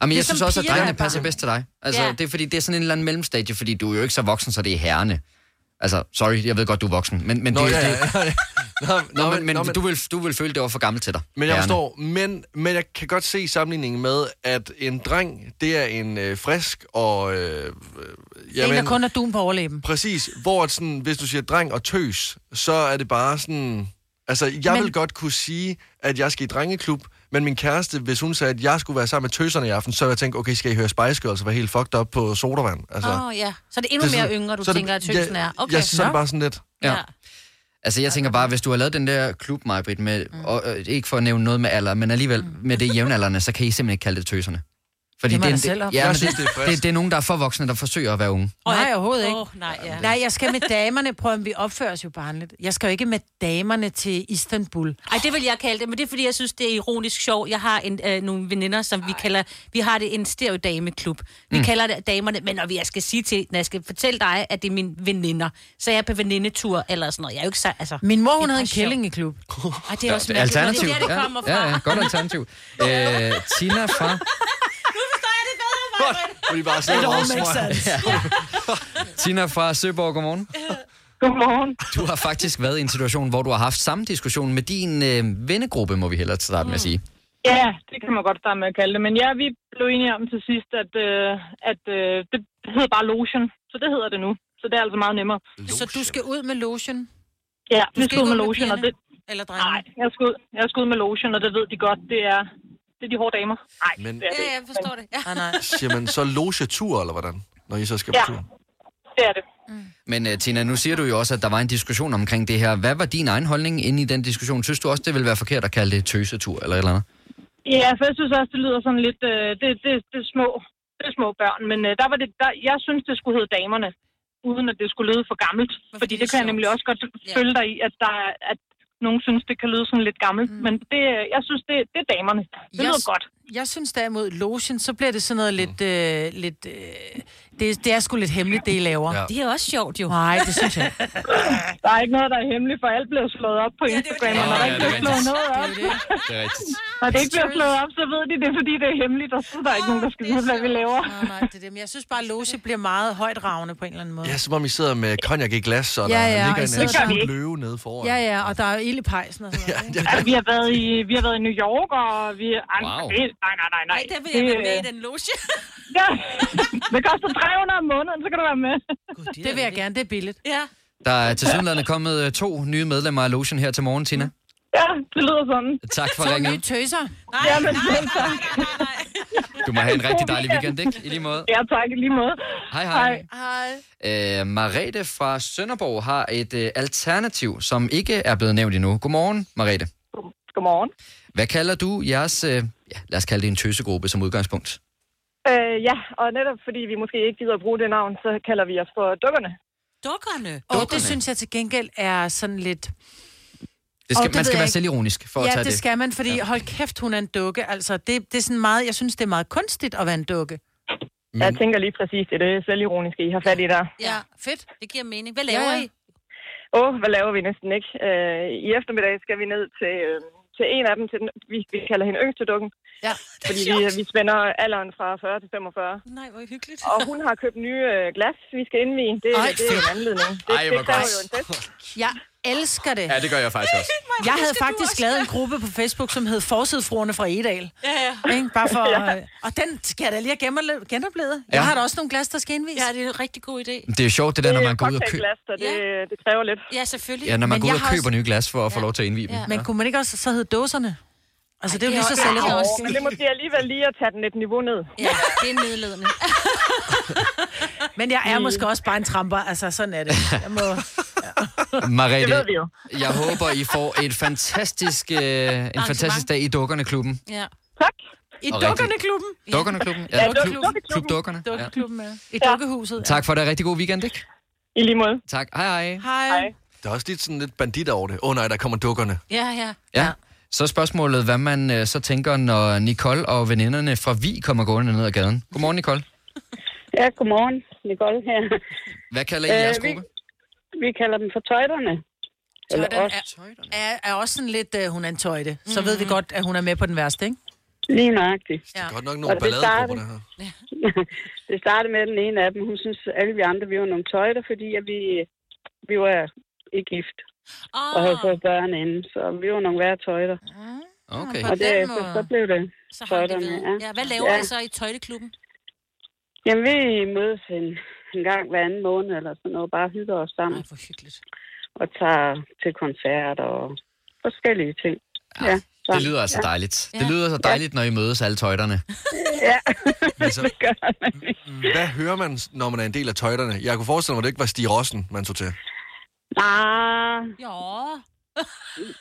Speaker 1: jeg
Speaker 2: Ligesom
Speaker 1: synes også, at
Speaker 2: piger er
Speaker 1: drengene
Speaker 2: bare-
Speaker 1: passer bedst til dig. Altså,
Speaker 2: Ja.
Speaker 1: ja. det er fordi, det er sådan en eller anden mellemstadie, fordi du er jo ikke så voksen, så det er herrene. Altså, sorry, jeg ved godt, du er voksen, men, men,
Speaker 4: Nå,
Speaker 1: det,
Speaker 4: ja, ja,
Speaker 1: det,
Speaker 4: Nå,
Speaker 1: Nå, men, men, du, vil, du vil føle, det var for gammel til dig.
Speaker 4: Men jeg
Speaker 1: Gerne.
Speaker 4: forstår, men, men jeg kan godt se sammenligningen med, at en dreng, det er en øh, frisk og... Øh, øh,
Speaker 2: Jamen, en, der kun er dun på overlæben.
Speaker 4: Præcis, hvor at sådan, hvis du siger dreng og tøs, så er det bare sådan... Altså, jeg men... vil godt kunne sige, at jeg skal i drengeklub, men min kæreste, hvis hun sagde, at jeg skulle være sammen med tøserne i aften, så ville jeg tænke, okay, skal I høre Spice Girls og være helt fucked up på sodavand? Altså,
Speaker 6: Åh, oh, ja. Så er det endnu
Speaker 4: Det er
Speaker 6: mere
Speaker 4: sådan-
Speaker 6: yngre, du
Speaker 4: så er det-
Speaker 6: tænker, at tøsen
Speaker 4: ja,
Speaker 6: er. Okay.
Speaker 4: ja, så er det bare sådan lidt.
Speaker 1: Ja. Altså, jeg tænker bare, hvis du har lavet den der klub, Majbrit, med, mm. og, øh, ikke for at nævne noget med alder, men alligevel
Speaker 6: Mm.
Speaker 1: med det jævnaldrende, så kan I simpelthen ikke kalde det tøserne. Fordi
Speaker 2: Det må
Speaker 1: det, er,
Speaker 2: jeg selv om.
Speaker 1: en- ja,
Speaker 2: Jeg
Speaker 1: men
Speaker 2: synes,
Speaker 1: det,
Speaker 2: det er frisk.
Speaker 1: det, det, er nogen, der er for voksne, der forsøger at være unge.
Speaker 2: Og nej, overhovedet ikke.
Speaker 6: Åh, nej, ja.
Speaker 2: Nej, jeg skal med damerne. Prøv at vi opfører os jo barnligt. Jeg skal jo ikke med damerne til Istanbul.
Speaker 6: Ej, det vil jeg kalde det, men det er fordi, jeg synes, det er ironisk sjovt. Jeg har en, øh, nogle veninder, som vi kalder... Vi har det en stereodameklub. Vi mm.
Speaker 2: Mm.
Speaker 6: kalder det damerne, men når vi- jeg skal sige til... Når jeg skal fortælle dig, at det er mine veninder, så er jeg på venindetur eller sådan noget. Jeg er jo ikke så... Altså,
Speaker 2: Min mor,
Speaker 6: det er
Speaker 2: hun havde
Speaker 6: bare
Speaker 2: en
Speaker 6: sjovt.
Speaker 2: kællingeklub.
Speaker 6: Ej, det er også
Speaker 1: Ja,
Speaker 6: mærkeligt, når
Speaker 1: alternativ.
Speaker 6: Det er der, det kommer fra.
Speaker 1: Ja, ja, godt alternativ. Øh, Tina fra...
Speaker 4: Hvor de bare
Speaker 1: sidder
Speaker 4: sidder
Speaker 1: It all og
Speaker 4: og
Speaker 1: makes rører. sense. Tina fra Søborg, godmorgen.
Speaker 16: Godmorgen.
Speaker 1: Du har faktisk været i en situation, hvor du har haft samme diskussion med din øh, vennegruppe, må vi hellere starte med at sige.
Speaker 16: Ja, det kan man godt starte med at kalde det. Men ja, vi blev enige om til sidst, at, øh, at øh, det hedder bare lotion. Så det hedder det nu. Så det er altså meget nemmere.
Speaker 2: Så du skal ud med lotion?
Speaker 16: Ja,
Speaker 2: Du
Speaker 16: vi
Speaker 2: skal
Speaker 16: skal
Speaker 2: ikke
Speaker 16: ud med
Speaker 2: ud med
Speaker 16: lotion, og
Speaker 2: pigerne?
Speaker 16: det...
Speaker 2: Eller drenge?
Speaker 16: Nej, jeg skal ud, jeg skal ud med lotion, og det ved de godt. Det er, det er de hårde damer. Nej,
Speaker 4: Men-
Speaker 16: det er det.
Speaker 6: Ja, jeg forstår det. Ja.
Speaker 2: Nej, nej.
Speaker 4: Siger man så logetur, eller hvordan? Når I så skal
Speaker 16: Ja.
Speaker 4: på tur?
Speaker 16: Det er det.
Speaker 1: Men øh, Tina, nu siger du jo også, at der var en diskussion omkring det her. Hvad var din egen holdning inde i den diskussion? Synes du også, det ville være forkert at kalde det tøsetur eller et eller andet?
Speaker 16: Ja, for jeg synes også, det lyder sådan lidt... Øh, det, det, det, er små, det er små børn, men øh, der var det, der, jeg synes, det skulle hedde damerne, uden at det skulle lyde for gammelt. Fordi, fordi det kan jeg nemlig også godt følge dig i, at, der, er- at nogen synes, det kan lyde sådan lidt gammelt. Mm. Men det, øh, jeg synes, det, det er damerne. Det
Speaker 2: Jeg
Speaker 16: lyder
Speaker 2: s-
Speaker 16: godt.
Speaker 2: Jeg synes derimod, lotion, så bliver det sådan noget lidt... Øh, lidt øh, det, det er sgu lidt hemmeligt, det I laver. Ja.
Speaker 6: Det er også sjovt, jo.
Speaker 2: Nej, det synes jeg.
Speaker 16: Der er ikke noget, der er hemmeligt, for alt bliver slået op på Instagram, og når
Speaker 2: Ja,
Speaker 16: der ikke
Speaker 2: det er
Speaker 16: bliver slået
Speaker 2: rigtigt.
Speaker 16: noget op.
Speaker 1: Det er rigtigt.
Speaker 16: Når det ikke bliver slået op, så ved de det, er, fordi det er hemmeligt, og så er der
Speaker 2: Ah,
Speaker 16: ikke nogen, der skal vide, hvad vi laver.
Speaker 2: Nej, det er det. Men jeg synes bare, loge bliver meget højt ravende på en eller anden måde.
Speaker 4: Ja, som om I sidder med konjak i glas, og
Speaker 2: Ja,
Speaker 4: ja,
Speaker 2: ja,
Speaker 4: ja,
Speaker 2: og
Speaker 4: der
Speaker 2: I
Speaker 4: ligger en
Speaker 2: sidder der.
Speaker 4: absolut løve nede foran.
Speaker 2: Ja, ja, og der er jo ild i pejsen og sådan noget.
Speaker 4: Ja,
Speaker 16: Altså, vi har været i, vi har været i New York, og vi... Ej,
Speaker 4: Wow.
Speaker 16: det, nej, nej, nej, nej.
Speaker 6: Ej, der vil jeg være med i
Speaker 16: øh,
Speaker 6: den loge.
Speaker 16: Ja, det koster 300 om måneden, så kan du være med.
Speaker 2: Det, det vil jeg gerne, det er billigt.
Speaker 6: Ja.
Speaker 1: Der er til synligheden kommet øh, to nye medlemmer af Lotion her til morgen, Tina.
Speaker 16: Ja, det lyder sådan.
Speaker 1: Tak for
Speaker 2: To nye
Speaker 1: ringet.
Speaker 2: tøser.
Speaker 6: Nej,
Speaker 16: ja, men, nej, nej,
Speaker 1: Du må have en rigtig dejlig weekend, ikke? I lige måde.
Speaker 16: Ja, tak i lige måde.
Speaker 1: Hej, hej.
Speaker 2: Hej.
Speaker 1: Øh, Marete fra Sønderborg har et øh, alternativ, som ikke er blevet nævnt endnu. Godmorgen, Marete.
Speaker 16: Godmorgen.
Speaker 1: Hvad kalder du jeres, øh, ja, lad os kalde det en tøsegruppe som udgangspunkt?
Speaker 17: Øh, ja, og netop fordi vi måske ikke gider at bruge det navn, så kalder vi os for dukkerne.
Speaker 6: Dukkerne?
Speaker 2: Og det synes jeg til gengæld er sådan lidt...
Speaker 1: Det skal,
Speaker 2: Åh,
Speaker 1: oh, man
Speaker 2: ved
Speaker 1: skal
Speaker 2: jeg
Speaker 1: være
Speaker 2: ikke.
Speaker 1: selvironisk for
Speaker 2: ja,
Speaker 1: at tage
Speaker 2: det.
Speaker 1: det.
Speaker 2: skal man, fordi ja. hold kæft, hun er en dukke. Altså, det, det er sådan meget, jeg synes, det er meget kunstigt at være en dukke.
Speaker 17: Men... Jeg tænker lige præcis, det er det selvironiske, I har fat i der.
Speaker 6: Ja,
Speaker 2: fedt.
Speaker 6: Det giver mening. Hvad laver
Speaker 17: Ja,
Speaker 6: ja,
Speaker 17: ja.
Speaker 6: I?
Speaker 17: Åh, oh, hvad laver vi næsten ikke? Øh, I eftermiddag skal vi ned til, øh, til en af dem, til den, vi, vi kalder hende yngstedukken.
Speaker 2: Ja,
Speaker 17: fordi vi, vi spænder alderen fra 40 til 45.
Speaker 6: Nej, hvor hyggeligt.
Speaker 17: Og hun har købt nye øh, glas, vi skal indvige. Det,
Speaker 2: Ej,
Speaker 17: det er en anledning. Det,
Speaker 1: Ej,
Speaker 17: det
Speaker 1: hvor
Speaker 17: kræver
Speaker 1: godt.
Speaker 17: jo en fest.
Speaker 2: Jeg elsker det.
Speaker 1: Ja, det gør jeg faktisk også.
Speaker 2: Jeg havde faktisk lavet en gruppe på Facebook, som hed Forsidfruerne fra Edal.
Speaker 6: Ja,
Speaker 2: ja. Ikke? Bare for,
Speaker 6: Ja.
Speaker 2: ja. Og den skal jeg da lige have genoplevet- genoplevet. Jeg
Speaker 1: Ja.
Speaker 2: har da også nogle glas, der skal indvises.
Speaker 6: Ja, det er en rigtig god idé.
Speaker 1: Det er jo sjovt, det der, når man går ud og køber,
Speaker 17: cocktailglas, så det, ja. det kræver lidt.
Speaker 6: Ja, selvfølgelig.
Speaker 1: ja, når man
Speaker 2: Men
Speaker 1: går ud
Speaker 2: jeg
Speaker 1: og
Speaker 2: har
Speaker 1: køber nye glas for at få lov til at indvige dem.
Speaker 2: Ja. Men kunne man ikke også så hedde dåserne? Altså, det er jo
Speaker 17: Ja,
Speaker 2: lige så
Speaker 17: men-
Speaker 2: selvironisk.
Speaker 17: Åh, Men det er måske alligevel lige at tage den et niveau ned.
Speaker 6: Ja, det er nedledende.
Speaker 2: Men jeg er måske også bare en tramper. Altså, sådan er det. Jeg må...
Speaker 1: Mariette,
Speaker 2: Det ved vi jo.
Speaker 1: jeg håber, I får et fantastisk, øh, en fantastisk dag i Dukkerne-klubben.
Speaker 6: Ja.
Speaker 17: Tak.
Speaker 2: I
Speaker 1: Og
Speaker 2: Dukkerneklubben.
Speaker 1: Dukkerneklubben? Ja, klub- klub Dukkerne, ja.
Speaker 2: Dukkerklubben, ja. I dukkehuset.
Speaker 1: Tak for det. Rigtig god weekend, ikke?
Speaker 17: I lige måde.
Speaker 1: Tak. Hej, hej.
Speaker 2: Hej.
Speaker 4: Der er også lidt sådan lidt bandit over det. Åh oh, nej, der kommer dukkerne.
Speaker 6: Ja, ja.
Speaker 1: Ja. Så er spørgsmålet, hvad man øh, så tænker, når Nicole og veninderne fra Vi kommer gående ned ad gaden. Godmorgen, Nicole.
Speaker 18: Ja, godmorgen. Nicole her.
Speaker 1: Hvad kalder I
Speaker 17: Øh,
Speaker 1: jeres
Speaker 18: vi,
Speaker 1: gruppe?
Speaker 18: vi kalder dem for tøjderne. Eller
Speaker 2: Tøjderne
Speaker 18: os.
Speaker 2: er, er, er også sådan lidt, uh, hun er en tøjde. Så ved vi godt, at hun er med på den værste, ikke?
Speaker 18: Lige nøjagtigt.
Speaker 2: Det er
Speaker 4: godt nok
Speaker 18: Og det startede, det startede med at den ene af dem. Hun synes, at alle vi andre, vi var nogle tøjder, fordi at vi, vi var ikke gift. Oh. Og havde
Speaker 17: Ah.
Speaker 18: fået børn inden, så vi var nogle værre tøjder.
Speaker 1: Okay.
Speaker 18: Og
Speaker 6: på
Speaker 18: det,
Speaker 6: den
Speaker 18: så,
Speaker 6: måde.
Speaker 18: så blev det
Speaker 6: Så har det
Speaker 18: tøjderne.
Speaker 6: ved. Ja, hvad laver
Speaker 18: ja.
Speaker 6: I så i tøjleklubben?
Speaker 18: Jamen, vi mødes en, en gang hver anden måned eller sådan noget, bare hygger os sammen.
Speaker 6: Ej, hvor hyggeligt.
Speaker 18: Og tager til koncerter og forskellige ting. Ja, så-
Speaker 1: Det lyder altså
Speaker 18: ja.
Speaker 1: dejligt. Det lyder så dejligt, når I mødes alle tøjderne.
Speaker 18: Ja.
Speaker 4: det Hvad hører man, når man er en del af tøjderne? Jeg kunne forestille mig, at det ikke var Stig Rossen, man tog til.
Speaker 18: Ah.
Speaker 6: Jo.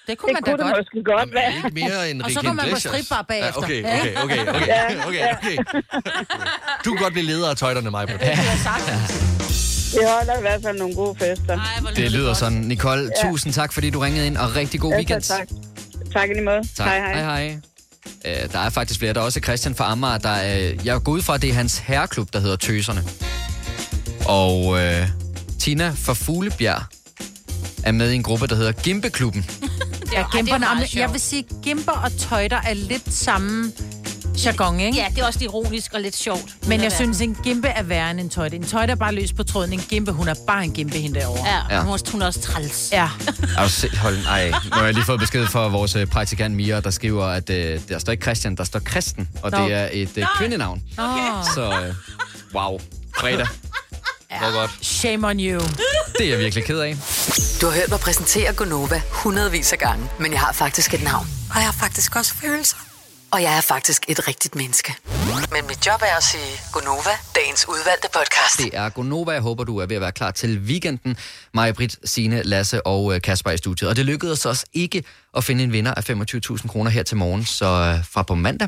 Speaker 2: Det kunne
Speaker 18: det
Speaker 2: man da
Speaker 18: kunne
Speaker 2: godt.
Speaker 18: Det måske godt være.
Speaker 4: Ikke mere end
Speaker 2: Og så
Speaker 4: Rikke
Speaker 2: går man på
Speaker 4: Iglesias.
Speaker 2: stripbar bagefter.
Speaker 4: Ja, okay, okay, okay, okay,
Speaker 18: Ja.
Speaker 4: okay, okay. Du kan godt blive leder af tøjderne, mig.
Speaker 18: Vi holder i hvert fald nogle gode fester.
Speaker 2: Ah,
Speaker 18: Ej,
Speaker 1: Det lyder sådan. Nicole,
Speaker 18: Ja.
Speaker 1: tusind tak, fordi du ringede ind, og rigtig god weekend.
Speaker 18: tak. Tak i lige måde.
Speaker 1: Tak.
Speaker 18: Hej, hej.
Speaker 1: Hej, hej. Øh, der er faktisk flere. Der er også Christian fra Amager, der er, jeg går ud fra, at det er hans herreklub, der hedder Tøserne. Og øh, Tina fra Fuglebjerg er med i en gruppe, der hedder Gimpeklubben.
Speaker 2: Ja, gimperne. Jamen, Jeg vil sige, gimper og tøjder er lidt samme jargon, ikke?
Speaker 6: Ja, det er også ironisk og lidt sjovt.
Speaker 2: Men jeg synes, en gimpe er værre end en tøjde. En tøjde er bare løs på tråden. En gimpe, hun er bare en gimpe hende derovre.
Speaker 6: Ja,
Speaker 1: Ja.
Speaker 6: hun er også- hun er også træls.
Speaker 2: Ja.
Speaker 1: Er du selv, hold, nej, nu har jeg lige fået besked fra vores øh, praktikant Mia, der skriver, at øh, der står ikke Christian, der står Kristen, og
Speaker 2: Nå.
Speaker 1: det er et øh, kvindenavn.
Speaker 2: Okay.
Speaker 1: Så øh, wow, fredag. Hvor godt.
Speaker 2: Shame on you.
Speaker 6: Uh.
Speaker 1: Det er jeg virkelig ked af.
Speaker 5: Du har hørt mig præsentere Gonova hundredvis af gange, men jeg har faktisk et navn.
Speaker 19: Og jeg har faktisk også følelser.
Speaker 5: Og jeg er faktisk et rigtigt menneske. Men mit job er at sige Gonova, dagens udvalgte podcast.
Speaker 1: Det er Gonova. Jeg håber, du er ved at være klar til weekenden. Maja Britt, Signe, Lasse og øh, Kasper er i studiet. Og det lykkedes os ikke at finde en vinder af 25.000 kroner her til morgen. Så øh, fra på mandag,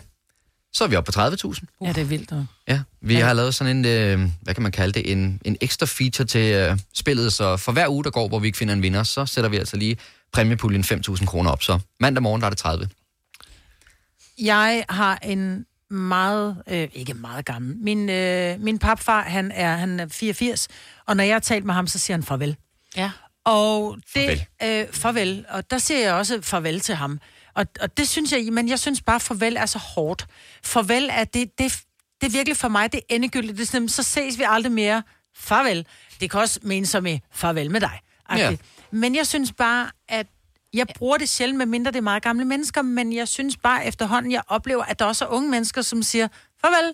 Speaker 1: så er vi oppe på 30.000.
Speaker 2: Ja, det er vildt. dog.
Speaker 1: Ja, vi ja. har lavet sådan en, øh, hvad kan man kalde det, en, en ekstra feature til øh, spillet, så for hver uge, der går, hvor vi ikke finder en vinder, så sætter vi altså lige præmiepuljen 5.000 kroner op, så mandag morgen, der er det 30.
Speaker 2: Jeg har en meget, øh, ikke meget gammel, min, øh, min papfar, han er, han er 84, og når jeg har talt med ham, så siger han farvel.
Speaker 6: Ja.
Speaker 2: Og det, farvel. Øh, farvel, og der siger jeg også farvel til ham. Og, og det synes jeg, men jeg synes bare, farvel er så hårdt. Farvel er det, det, det er virkelig for mig, det er endegyldigt. Det er sådan, så ses vi aldrig mere. Farvel. Det kan også mene som i farvel med dig.
Speaker 1: Ja.
Speaker 2: Ja. Men jeg synes bare, at jeg bruger det sjældent, med mindre det er meget gamle mennesker, men jeg synes bare efterhånden, jeg oplever, at der også er unge mennesker, som siger, farvel.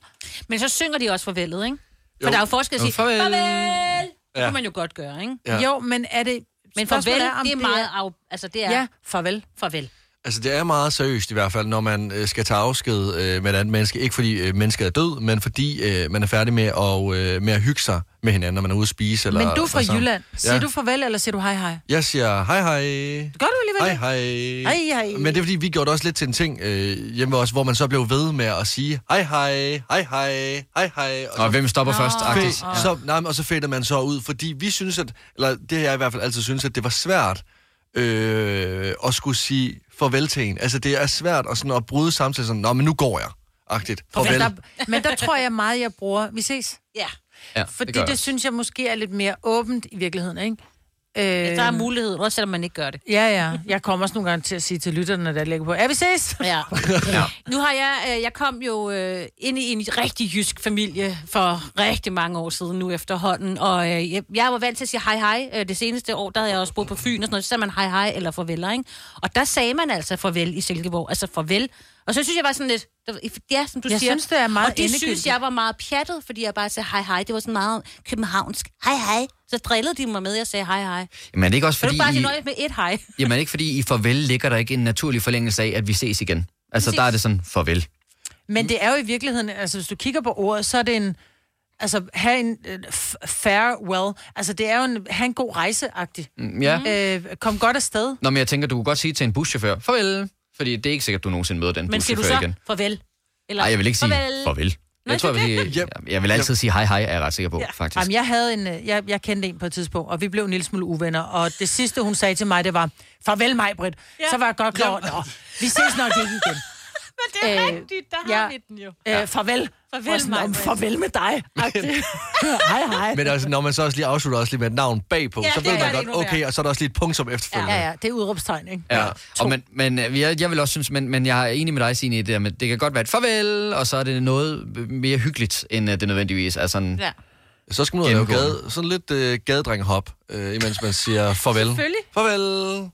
Speaker 6: Men så synger de også farvelet, ikke? For
Speaker 2: Jo.
Speaker 6: der er jo forskel at
Speaker 2: Jo,
Speaker 6: sige,
Speaker 2: farvel.
Speaker 6: farvel. farvel. Ja.
Speaker 2: Ja.
Speaker 6: Det kan man jo godt gøre, ikke?
Speaker 4: Ja.
Speaker 2: Jo, men er det...
Speaker 6: Men
Speaker 2: Spørgsmålet
Speaker 6: farvel,
Speaker 2: om
Speaker 6: det er meget af... Altså, det er...
Speaker 2: Ja, farvel.
Speaker 6: Farvel.
Speaker 4: Altså, det er meget seriøst i hvert fald, når man øh, skal tage afsked øh, med et andet menneske. Ikke fordi øh, mennesket er død, men fordi øh, man er færdig med at, øh, med at hygge sig med hinanden, når man er ude at spise. Eller,
Speaker 2: Men du er fra
Speaker 4: eller sammen.
Speaker 2: Jylland. Siger ja. du farvel, eller siger du hej hej?
Speaker 4: Jeg siger hej hej.
Speaker 2: Gør du alligevel
Speaker 4: Hej hej.
Speaker 2: Hej, hej.
Speaker 4: Men det er fordi, vi gjorde det også lidt til en ting øh, hjemme også, hvor man så blev ved med at sige hej hej, hej hej, hej hej.
Speaker 1: Og hvem stopper Nå. først, agtigt.
Speaker 4: Fe- så, nej, men- og så fader man så ud, fordi vi synes, at, eller det har jeg i hvert fald altid synes, at det var svært øh, at skulle sige farvel til en. Altså det er svært at, sådan, at bryde samtidig sådan, nå, men nu går jeg, agtigt. Farvel.
Speaker 2: Men der, men der tror jeg meget, jeg bruger, vi ses.
Speaker 6: Ja.
Speaker 4: Ja,
Speaker 2: Fordi det, det synes jeg måske er lidt mere åbent i virkeligheden, ikke? Øh,
Speaker 6: Der er mulighed, også selvom man ikke gør det.
Speaker 2: Ja, ja. Jeg kommer også nogle gange til at sige til lytterne, der ligger på, er vi ses?
Speaker 6: Ja. Nu har jeg, øh, jeg kom jo øh, ind i en rigtig jysk familie for rigtig mange år siden nu efterhånden, og øh, jeg, jeg var vant til at sige hej hej. Øh, det seneste år, der havde jeg også boet på Fyn og sådan noget, så sagde man hej hej eller farvel, ikke? Og der sagde man altså farvel i Silkeborg, altså farvel. Og så synes jeg var sådan lidt, ja, som du
Speaker 2: Jeg
Speaker 6: siger.
Speaker 2: synes, det er meget
Speaker 6: Og de synes,
Speaker 2: endegyldigt.
Speaker 6: jeg var meget pjattet, fordi jeg bare sagde hej hej. Det var sådan meget københavnsk. Hej hej. Så drillede de mig med, at jeg sagde hej hej.
Speaker 1: Jamen er det ikke også
Speaker 6: Fordi...
Speaker 1: fordi...
Speaker 6: du bare sige
Speaker 1: I-
Speaker 6: noget med et hej?
Speaker 1: Jamen er det ikke fordi, i farvel ligger der ikke en naturlig forlængelse af, at vi ses igen? Altså,
Speaker 2: Præcis.
Speaker 1: der er det sådan, farvel.
Speaker 2: Men det er jo i virkeligheden, altså hvis du kigger på ordet, så er det en, altså have en øh, f- farewell, altså det er jo en, have en god rejseagtig.
Speaker 1: Mm, ja.
Speaker 2: Øh, kom godt afsted.
Speaker 1: Nå, men jeg tænker, du kunne godt sige til en buschauffør, farvel. Fordi det er ikke sikkert, du nogensinde møder den
Speaker 6: Men siger du
Speaker 1: buschauffør
Speaker 6: så
Speaker 1: igen.
Speaker 6: farvel? Eller,
Speaker 1: Nej, jeg vil ikke sige farvel.
Speaker 6: farvel.
Speaker 1: Jeg tror, vi, jeg, jeg vil altid sige hej hej, er jeg ret sikker på, ja. faktisk.
Speaker 2: Jamen, jeg, havde en, øh, jeg, jeg kendte en på et tidspunkt, og vi blev en lille smule uvenner, og det sidste, hun sagde til mig, det var, farvel mig, Britt. Ja. Så var jeg godt klar over, "Nå, vi ses nok ikke igen.
Speaker 6: Men det er
Speaker 2: Øh,
Speaker 6: rigtigt, der har
Speaker 2: ja.
Speaker 6: vi den jo.
Speaker 2: Øh, farvel.
Speaker 6: Farvel,
Speaker 2: Og sådan,
Speaker 6: Maj-Brit.
Speaker 2: "Om, Farvel med dig. hej, hej.
Speaker 4: Men altså, når man så også lige afslutter også lige med et navn bagpå,
Speaker 2: Ja,
Speaker 4: så
Speaker 2: det
Speaker 4: ved
Speaker 2: gør
Speaker 4: man
Speaker 2: det
Speaker 4: godt,
Speaker 2: endnu værre.
Speaker 4: okay, og så er der også lige et punktum
Speaker 2: Ja,
Speaker 4: efterfølgende.
Speaker 2: ja, det er udråbstegn, ikke?
Speaker 1: Ja, og men, men øh, jeg, jeg vil også synes, men, men jeg er enig med dig, Signe, i det der, men det kan godt være et farvel, og så er det noget mere hyggeligt, end øh, det nødvendigvis er sådan...
Speaker 6: Ja.
Speaker 4: Så skal man ud og lave
Speaker 1: Gennemgående.
Speaker 4: gade, sådan lidt øh, gadedrenghop, øh, imens man siger farvel.
Speaker 2: Selvfølgelig.
Speaker 4: Farvel.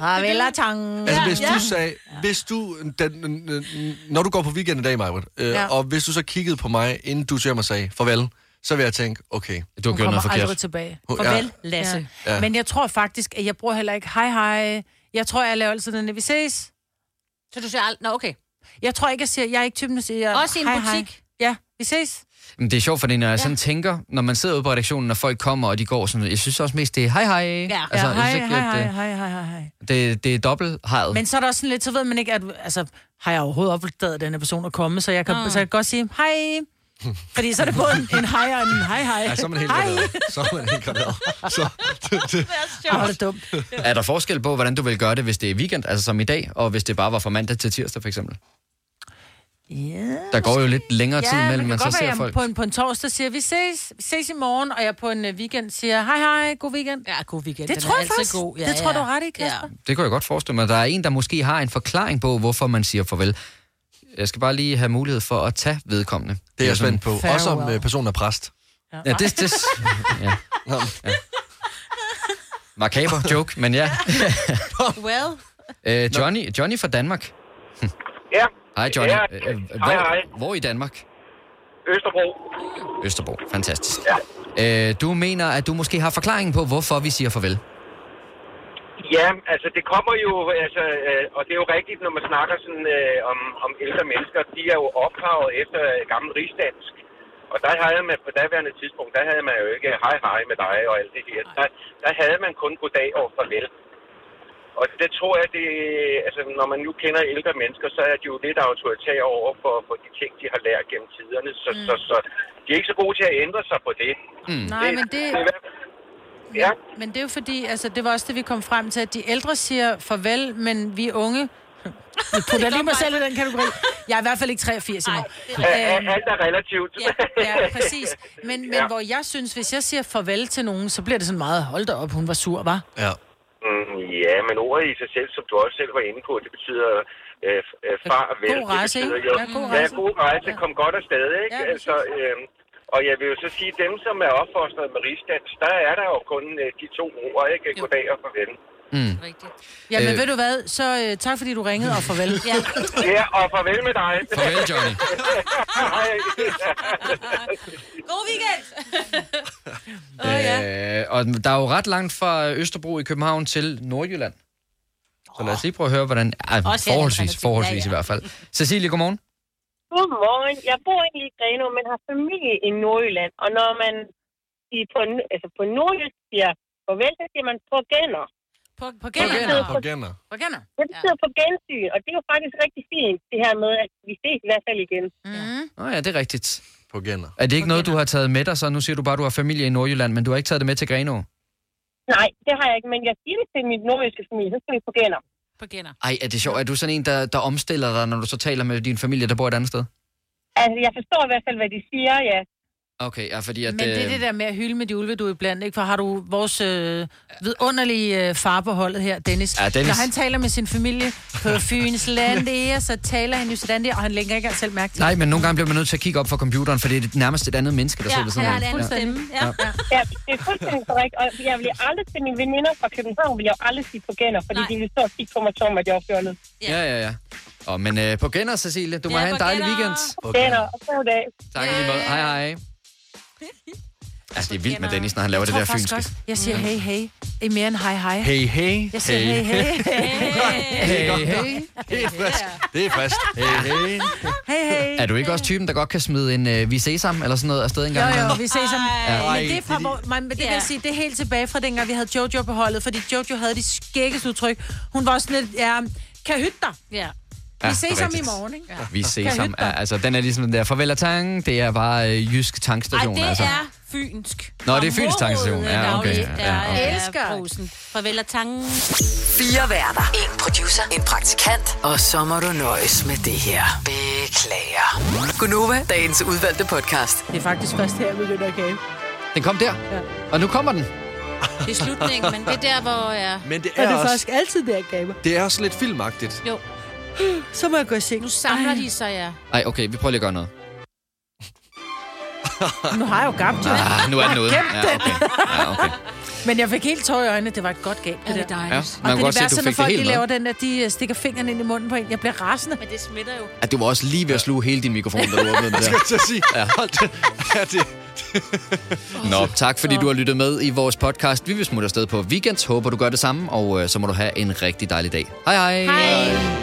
Speaker 2: Farvel og tang.
Speaker 4: Altså, hvis du sagde, hvis du, den, øh, når du går på weekend i dag, Maja, øh,
Speaker 2: Ja.
Speaker 4: ja. og hvis du så kiggede på mig, inden du til mig sagde farvel, så vil jeg tænke, okay.
Speaker 1: Du
Speaker 2: Hun kommer aldrig tilbage.
Speaker 4: Hun-
Speaker 2: Farvel,
Speaker 4: ja.
Speaker 2: Lasse.
Speaker 4: Ja.
Speaker 2: Ja. Men jeg tror faktisk, at jeg bruger heller ikke hej hej. Jeg tror, jeg laver altid den, vi ses.
Speaker 6: Så du siger aldrig, nå okay.
Speaker 2: Jeg tror ikke, jeg siger, jeg er ikke typen, der siger
Speaker 6: Også i en
Speaker 2: hej,
Speaker 6: butik?
Speaker 2: Hej. Ja, vi ses.
Speaker 1: Men det er sjovt, fordi når jeg sådan tænker, når man sidder ude på redaktionen, og folk kommer, og de går sådan, jeg synes også mest, det er hej hej.
Speaker 2: Ja,
Speaker 1: Altså,
Speaker 2: altså,
Speaker 1: jeg
Speaker 2: ja hej,
Speaker 1: synes ikke,
Speaker 2: hej,
Speaker 1: at,
Speaker 2: hej,
Speaker 1: øh,
Speaker 2: hej, hej, hej, hej.
Speaker 1: Det, det er dobbelt hejet.
Speaker 2: Men så er der også sådan lidt, så ved man ikke, at altså, har jeg overhovedet opdaget, at den her person er kommet, så jeg kan,
Speaker 1: Mm.
Speaker 2: mm. så jeg kan godt sige hej. Fordi så er det både en, en hej og en hej hej.
Speaker 1: Ja, så er man helt
Speaker 2: hej.
Speaker 1: glad.
Speaker 4: Så er man helt glad. Så, det,
Speaker 2: Hvor er det dumt.
Speaker 1: Er der forskel på, hvordan du vil gøre det, hvis det er weekend, altså som i dag, og hvis det bare var fra mandag til tirsdag, for eksempel?
Speaker 2: Ja.
Speaker 1: Der går jo lidt længere tid
Speaker 2: men
Speaker 1: imellem,
Speaker 2: det
Speaker 1: man
Speaker 2: kan
Speaker 1: så
Speaker 2: godt være,
Speaker 1: ser
Speaker 2: jeg
Speaker 1: folk.
Speaker 2: På en, på en torsdag siger, vi ses, vi ses i morgen, og jeg på en øh, weekend siger, hej hej, god weekend.
Speaker 6: Ja, god weekend.
Speaker 2: Det
Speaker 6: den
Speaker 2: tror
Speaker 6: er
Speaker 2: jeg
Speaker 6: altid
Speaker 2: faktisk.
Speaker 6: god.
Speaker 2: God.
Speaker 6: Ja,
Speaker 2: Ja, det tror
Speaker 6: ja.
Speaker 2: du ret i, Kasper. Ja.
Speaker 1: Det kunne jeg godt forestille mig. Der er en, der måske har en forklaring på, hvorfor man siger farvel. Jeg skal bare lige have mulighed for at tage vedkommende.
Speaker 4: det er jeg
Speaker 1: sådan-
Speaker 4: spændt på. Også om øh, personen er præst.
Speaker 1: Ja, det, det, ja. ja. Makaber joke, men ja.
Speaker 6: Well.
Speaker 1: Øh, Johnny, Johnny fra Danmark.
Speaker 19: Ja.
Speaker 1: Hej Johnny.
Speaker 19: Ja.
Speaker 1: Øh, hvor,
Speaker 19: Hej, hej.
Speaker 1: hvor i Danmark?
Speaker 19: Østerbro.
Speaker 1: Østerbro. Fantastisk. Ja. Øh, du mener, at du måske har forklaringen på, hvorfor vi siger farvel.
Speaker 16: Ja, altså det kommer jo, altså, øh, og det er jo rigtigt, når man snakker sådan, øh, om, om ældre mennesker, de er jo opdraget efter øh, gammel rigsdansk. Og der havde man på daværende tidspunkt, der havde man jo ikke øh, hej hej med dig og alt det her. Der, der havde man kun goddag og farvel. Og det tror jeg, det, altså, når man nu kender ældre mennesker, så er de jo lidt autoritære over for, for de ting, de har lært gennem tiderne. Så, mm. så, så de er ikke så gode til at ændre sig på det.
Speaker 2: Mm. Nej, men det...
Speaker 16: det er i hvert fald- Ja.
Speaker 2: Men det er jo fordi, altså det var også det, vi kom frem til, at de ældre siger farvel, men vi unge... Jeg putter lige mig selv i den kategori. Jeg er i hvert fald ikke 83 endnu.
Speaker 16: Æ,
Speaker 2: Øhm,
Speaker 16: alt er relativt.
Speaker 2: Ja, ja, præcis. Men, men ja. hvor jeg synes, hvis jeg siger farvel til nogen, så bliver det sådan meget, hold da op, hun var sur, var.
Speaker 4: Ja.
Speaker 16: Mm, ja, men ordet i sig selv, som du også selv var inde på, det betyder øh, f- øh, far og vel.
Speaker 2: God rejse,
Speaker 16: det
Speaker 2: ikke?
Speaker 16: betyder, jo,
Speaker 2: Ja, god
Speaker 16: ja,
Speaker 2: rejse.
Speaker 16: god rejse. Kom godt afsted, ikke?
Speaker 2: Ja,
Speaker 16: Ja, altså, øh, og jeg vil jo så sige, dem, som er opfostret med rigsdans, der er der jo kun øh, de to ord, ikke? Goddag og farvel.
Speaker 1: Mm.
Speaker 2: Jamen
Speaker 1: Øh.
Speaker 2: øh. ved du hvad, så øh, tak fordi du ringede, og farvel. Ja.
Speaker 16: Ja, og farvel med dig.
Speaker 1: Farvel, Johnny.
Speaker 6: God weekend!
Speaker 1: Oh, ja. øh, og der er jo ret langt fra Østerbro i København til Nordjylland. Så lad os lige prøve at høre, hvordan... Ej,
Speaker 20: Også her er
Speaker 1: forholdsvis,
Speaker 20: alternativ.
Speaker 1: forholdsvis
Speaker 20: Ja,
Speaker 1: i
Speaker 20: ja.
Speaker 1: hvert fald. Cecilie, godmorgen.
Speaker 20: Godmorgen. Jeg bor egentlig i Grenå, men har familie i Nordjylland. Og når man i på, altså på nordjysk siger farvel, så siger man på gænder.
Speaker 2: På, på
Speaker 4: På genner.
Speaker 2: På gænder?
Speaker 20: Det betyder på gensyn, og det er jo faktisk rigtig fint, det her med, at vi ses i hvert fald igen.
Speaker 2: Mm.
Speaker 1: Nå ja, det er rigtigt.
Speaker 4: På genner.
Speaker 1: Er det ikke noget, du har taget med dig så? Nu siger du bare, at du har familie i Nordjylland, men du har ikke taget det med til Grenå?
Speaker 20: Nej, det har jeg ikke, men jeg siger det til min nordjyske familie, så skal vi på gænder.
Speaker 6: På gænder.
Speaker 1: Ej, er det sjovt? Er du sådan en, der, der omstiller dig, når du så taler med din familie, der bor et andet sted?
Speaker 20: Altså, jeg forstår i hvert fald, hvad de siger, ja.
Speaker 1: Okay, ja, fordi at...
Speaker 2: Men det er
Speaker 1: øh,
Speaker 2: det der med at hylde med de ulve, du er iblandt, ikke? For har du vores øh, vidunderlige øh, far på holdet her, Dennis.
Speaker 1: Ja, Dennis.
Speaker 2: Når han taler med sin familie på Fyns lande, så taler han jo sådan der, og han lægger ikke engang selv mærke til
Speaker 1: Nej, men nogle gange bliver man nødt til at kigge op for computeren, for det er det nærmest et andet menneske, der sidder ved siden af.
Speaker 20: Ja. ja, det er fuldstændig korrekt. Og jeg vil aldrig til mine veninder fra København, vil jeg jo aldrig sige på gænder, fordi Nej. de vil stå og kigge på mig som, at jeg er fjollet.
Speaker 1: Ja, ja, ja. Og, men øh, på genner, Cecilie. Du må
Speaker 20: Ja,
Speaker 1: have en
Speaker 20: på
Speaker 1: dejlig
Speaker 20: genner.
Speaker 1: weekend.
Speaker 20: På gænder, og god dag.
Speaker 1: Tak i lige måde. Hej, hej. Altså, det er vildt med Dennis, når han laver det
Speaker 2: tror
Speaker 1: der
Speaker 2: faktisk
Speaker 1: fynske. Mm.
Speaker 2: også, jeg siger hey, hey. I mere end hej, hej.
Speaker 1: Hey, hey.
Speaker 2: Jeg siger hey, hey.
Speaker 1: Hey, hey.
Speaker 4: Det er fast. Det er fast. Hey, hey.
Speaker 2: Hey, hey.
Speaker 1: Er du ikke også typen, der godt kan smide en øh, vi ses sammen eller sådan noget afsted en
Speaker 2: Jo,
Speaker 1: gang?
Speaker 2: jo,
Speaker 1: imellem?
Speaker 2: vi ses om...
Speaker 1: Ja.
Speaker 2: Men det er fra, hvor, man, men det kan jeg sige, det er helt tilbage fra dengang, vi havde Jojo på holdet, fordi Jojo havde de skæggeste udtryk. Hun var også sådan lidt, ja, kan hytte dig.
Speaker 6: Ja.
Speaker 1: Ja,
Speaker 2: Vi ses om i
Speaker 1: rigtigt.
Speaker 2: morgen, ikke? Ja.
Speaker 1: Vi
Speaker 2: Kan
Speaker 1: ses
Speaker 2: jeg
Speaker 1: sammen.
Speaker 2: hytte
Speaker 1: Ja, altså, den er ligesom den der farvel og tang. Det er bare øh, jysk tankstation,
Speaker 6: Ej, det
Speaker 1: altså.
Speaker 6: er fynsk.
Speaker 1: Nå, det er
Speaker 6: Fra
Speaker 1: fynsk tankstation.
Speaker 6: Morud,
Speaker 1: Ja, okay.
Speaker 6: dagligt.
Speaker 1: Ja,
Speaker 6: Der
Speaker 1: okay.
Speaker 6: er
Speaker 5: Elsker.
Speaker 6: Brugsen. Farvel og tangen.
Speaker 5: Fire værter. En producer. En praktikant. Og så må du nøjes med det her. Beklager. Gunova, dagens udvalgte podcast.
Speaker 2: Det er faktisk først her, vi begynder at game.
Speaker 1: Den kom der. Og nu kommer den.
Speaker 6: Det er slutningen, men det er der, hvor jeg...
Speaker 4: Men det er, det er, også,
Speaker 2: altid der, gamer.
Speaker 4: det er også lidt filmagtigt.
Speaker 6: Jo,
Speaker 2: Så må jeg gå i seng.
Speaker 6: nu samler de sig, ja.
Speaker 1: Ej, okay, vi prøver lige at gøre noget.
Speaker 2: Nu har jeg jo gabt jer.
Speaker 1: Ah, nu er den ude.
Speaker 2: Jeg har gemt
Speaker 1: Ja, okay. Ja, okay.
Speaker 2: Men jeg fik helt tår i øjnene, det var et godt gab, det der.
Speaker 1: Ja, man
Speaker 2: og
Speaker 1: kan
Speaker 2: det er
Speaker 1: godt se,
Speaker 2: det
Speaker 1: at du
Speaker 2: værste, når
Speaker 1: fik det
Speaker 2: folk de
Speaker 1: helt med.
Speaker 2: laver den, at de øh, stikker fingrene ind i munden på en. Jeg bliver rasende.
Speaker 6: Men det smitter jo.
Speaker 1: At Ah, du var også lige ved at sluge hele din mikrofon, da du åbnede den der.
Speaker 4: Jeg skal til at sige.
Speaker 1: Ja.
Speaker 4: Hold det. Ja, det.
Speaker 1: Nå, tak fordi du har lyttet med i vores podcast. Vi vil smutte afsted på weekend. Håber du gør det samme, og øh, så må du have en rigtig dejlig dag. Hej hej. hej.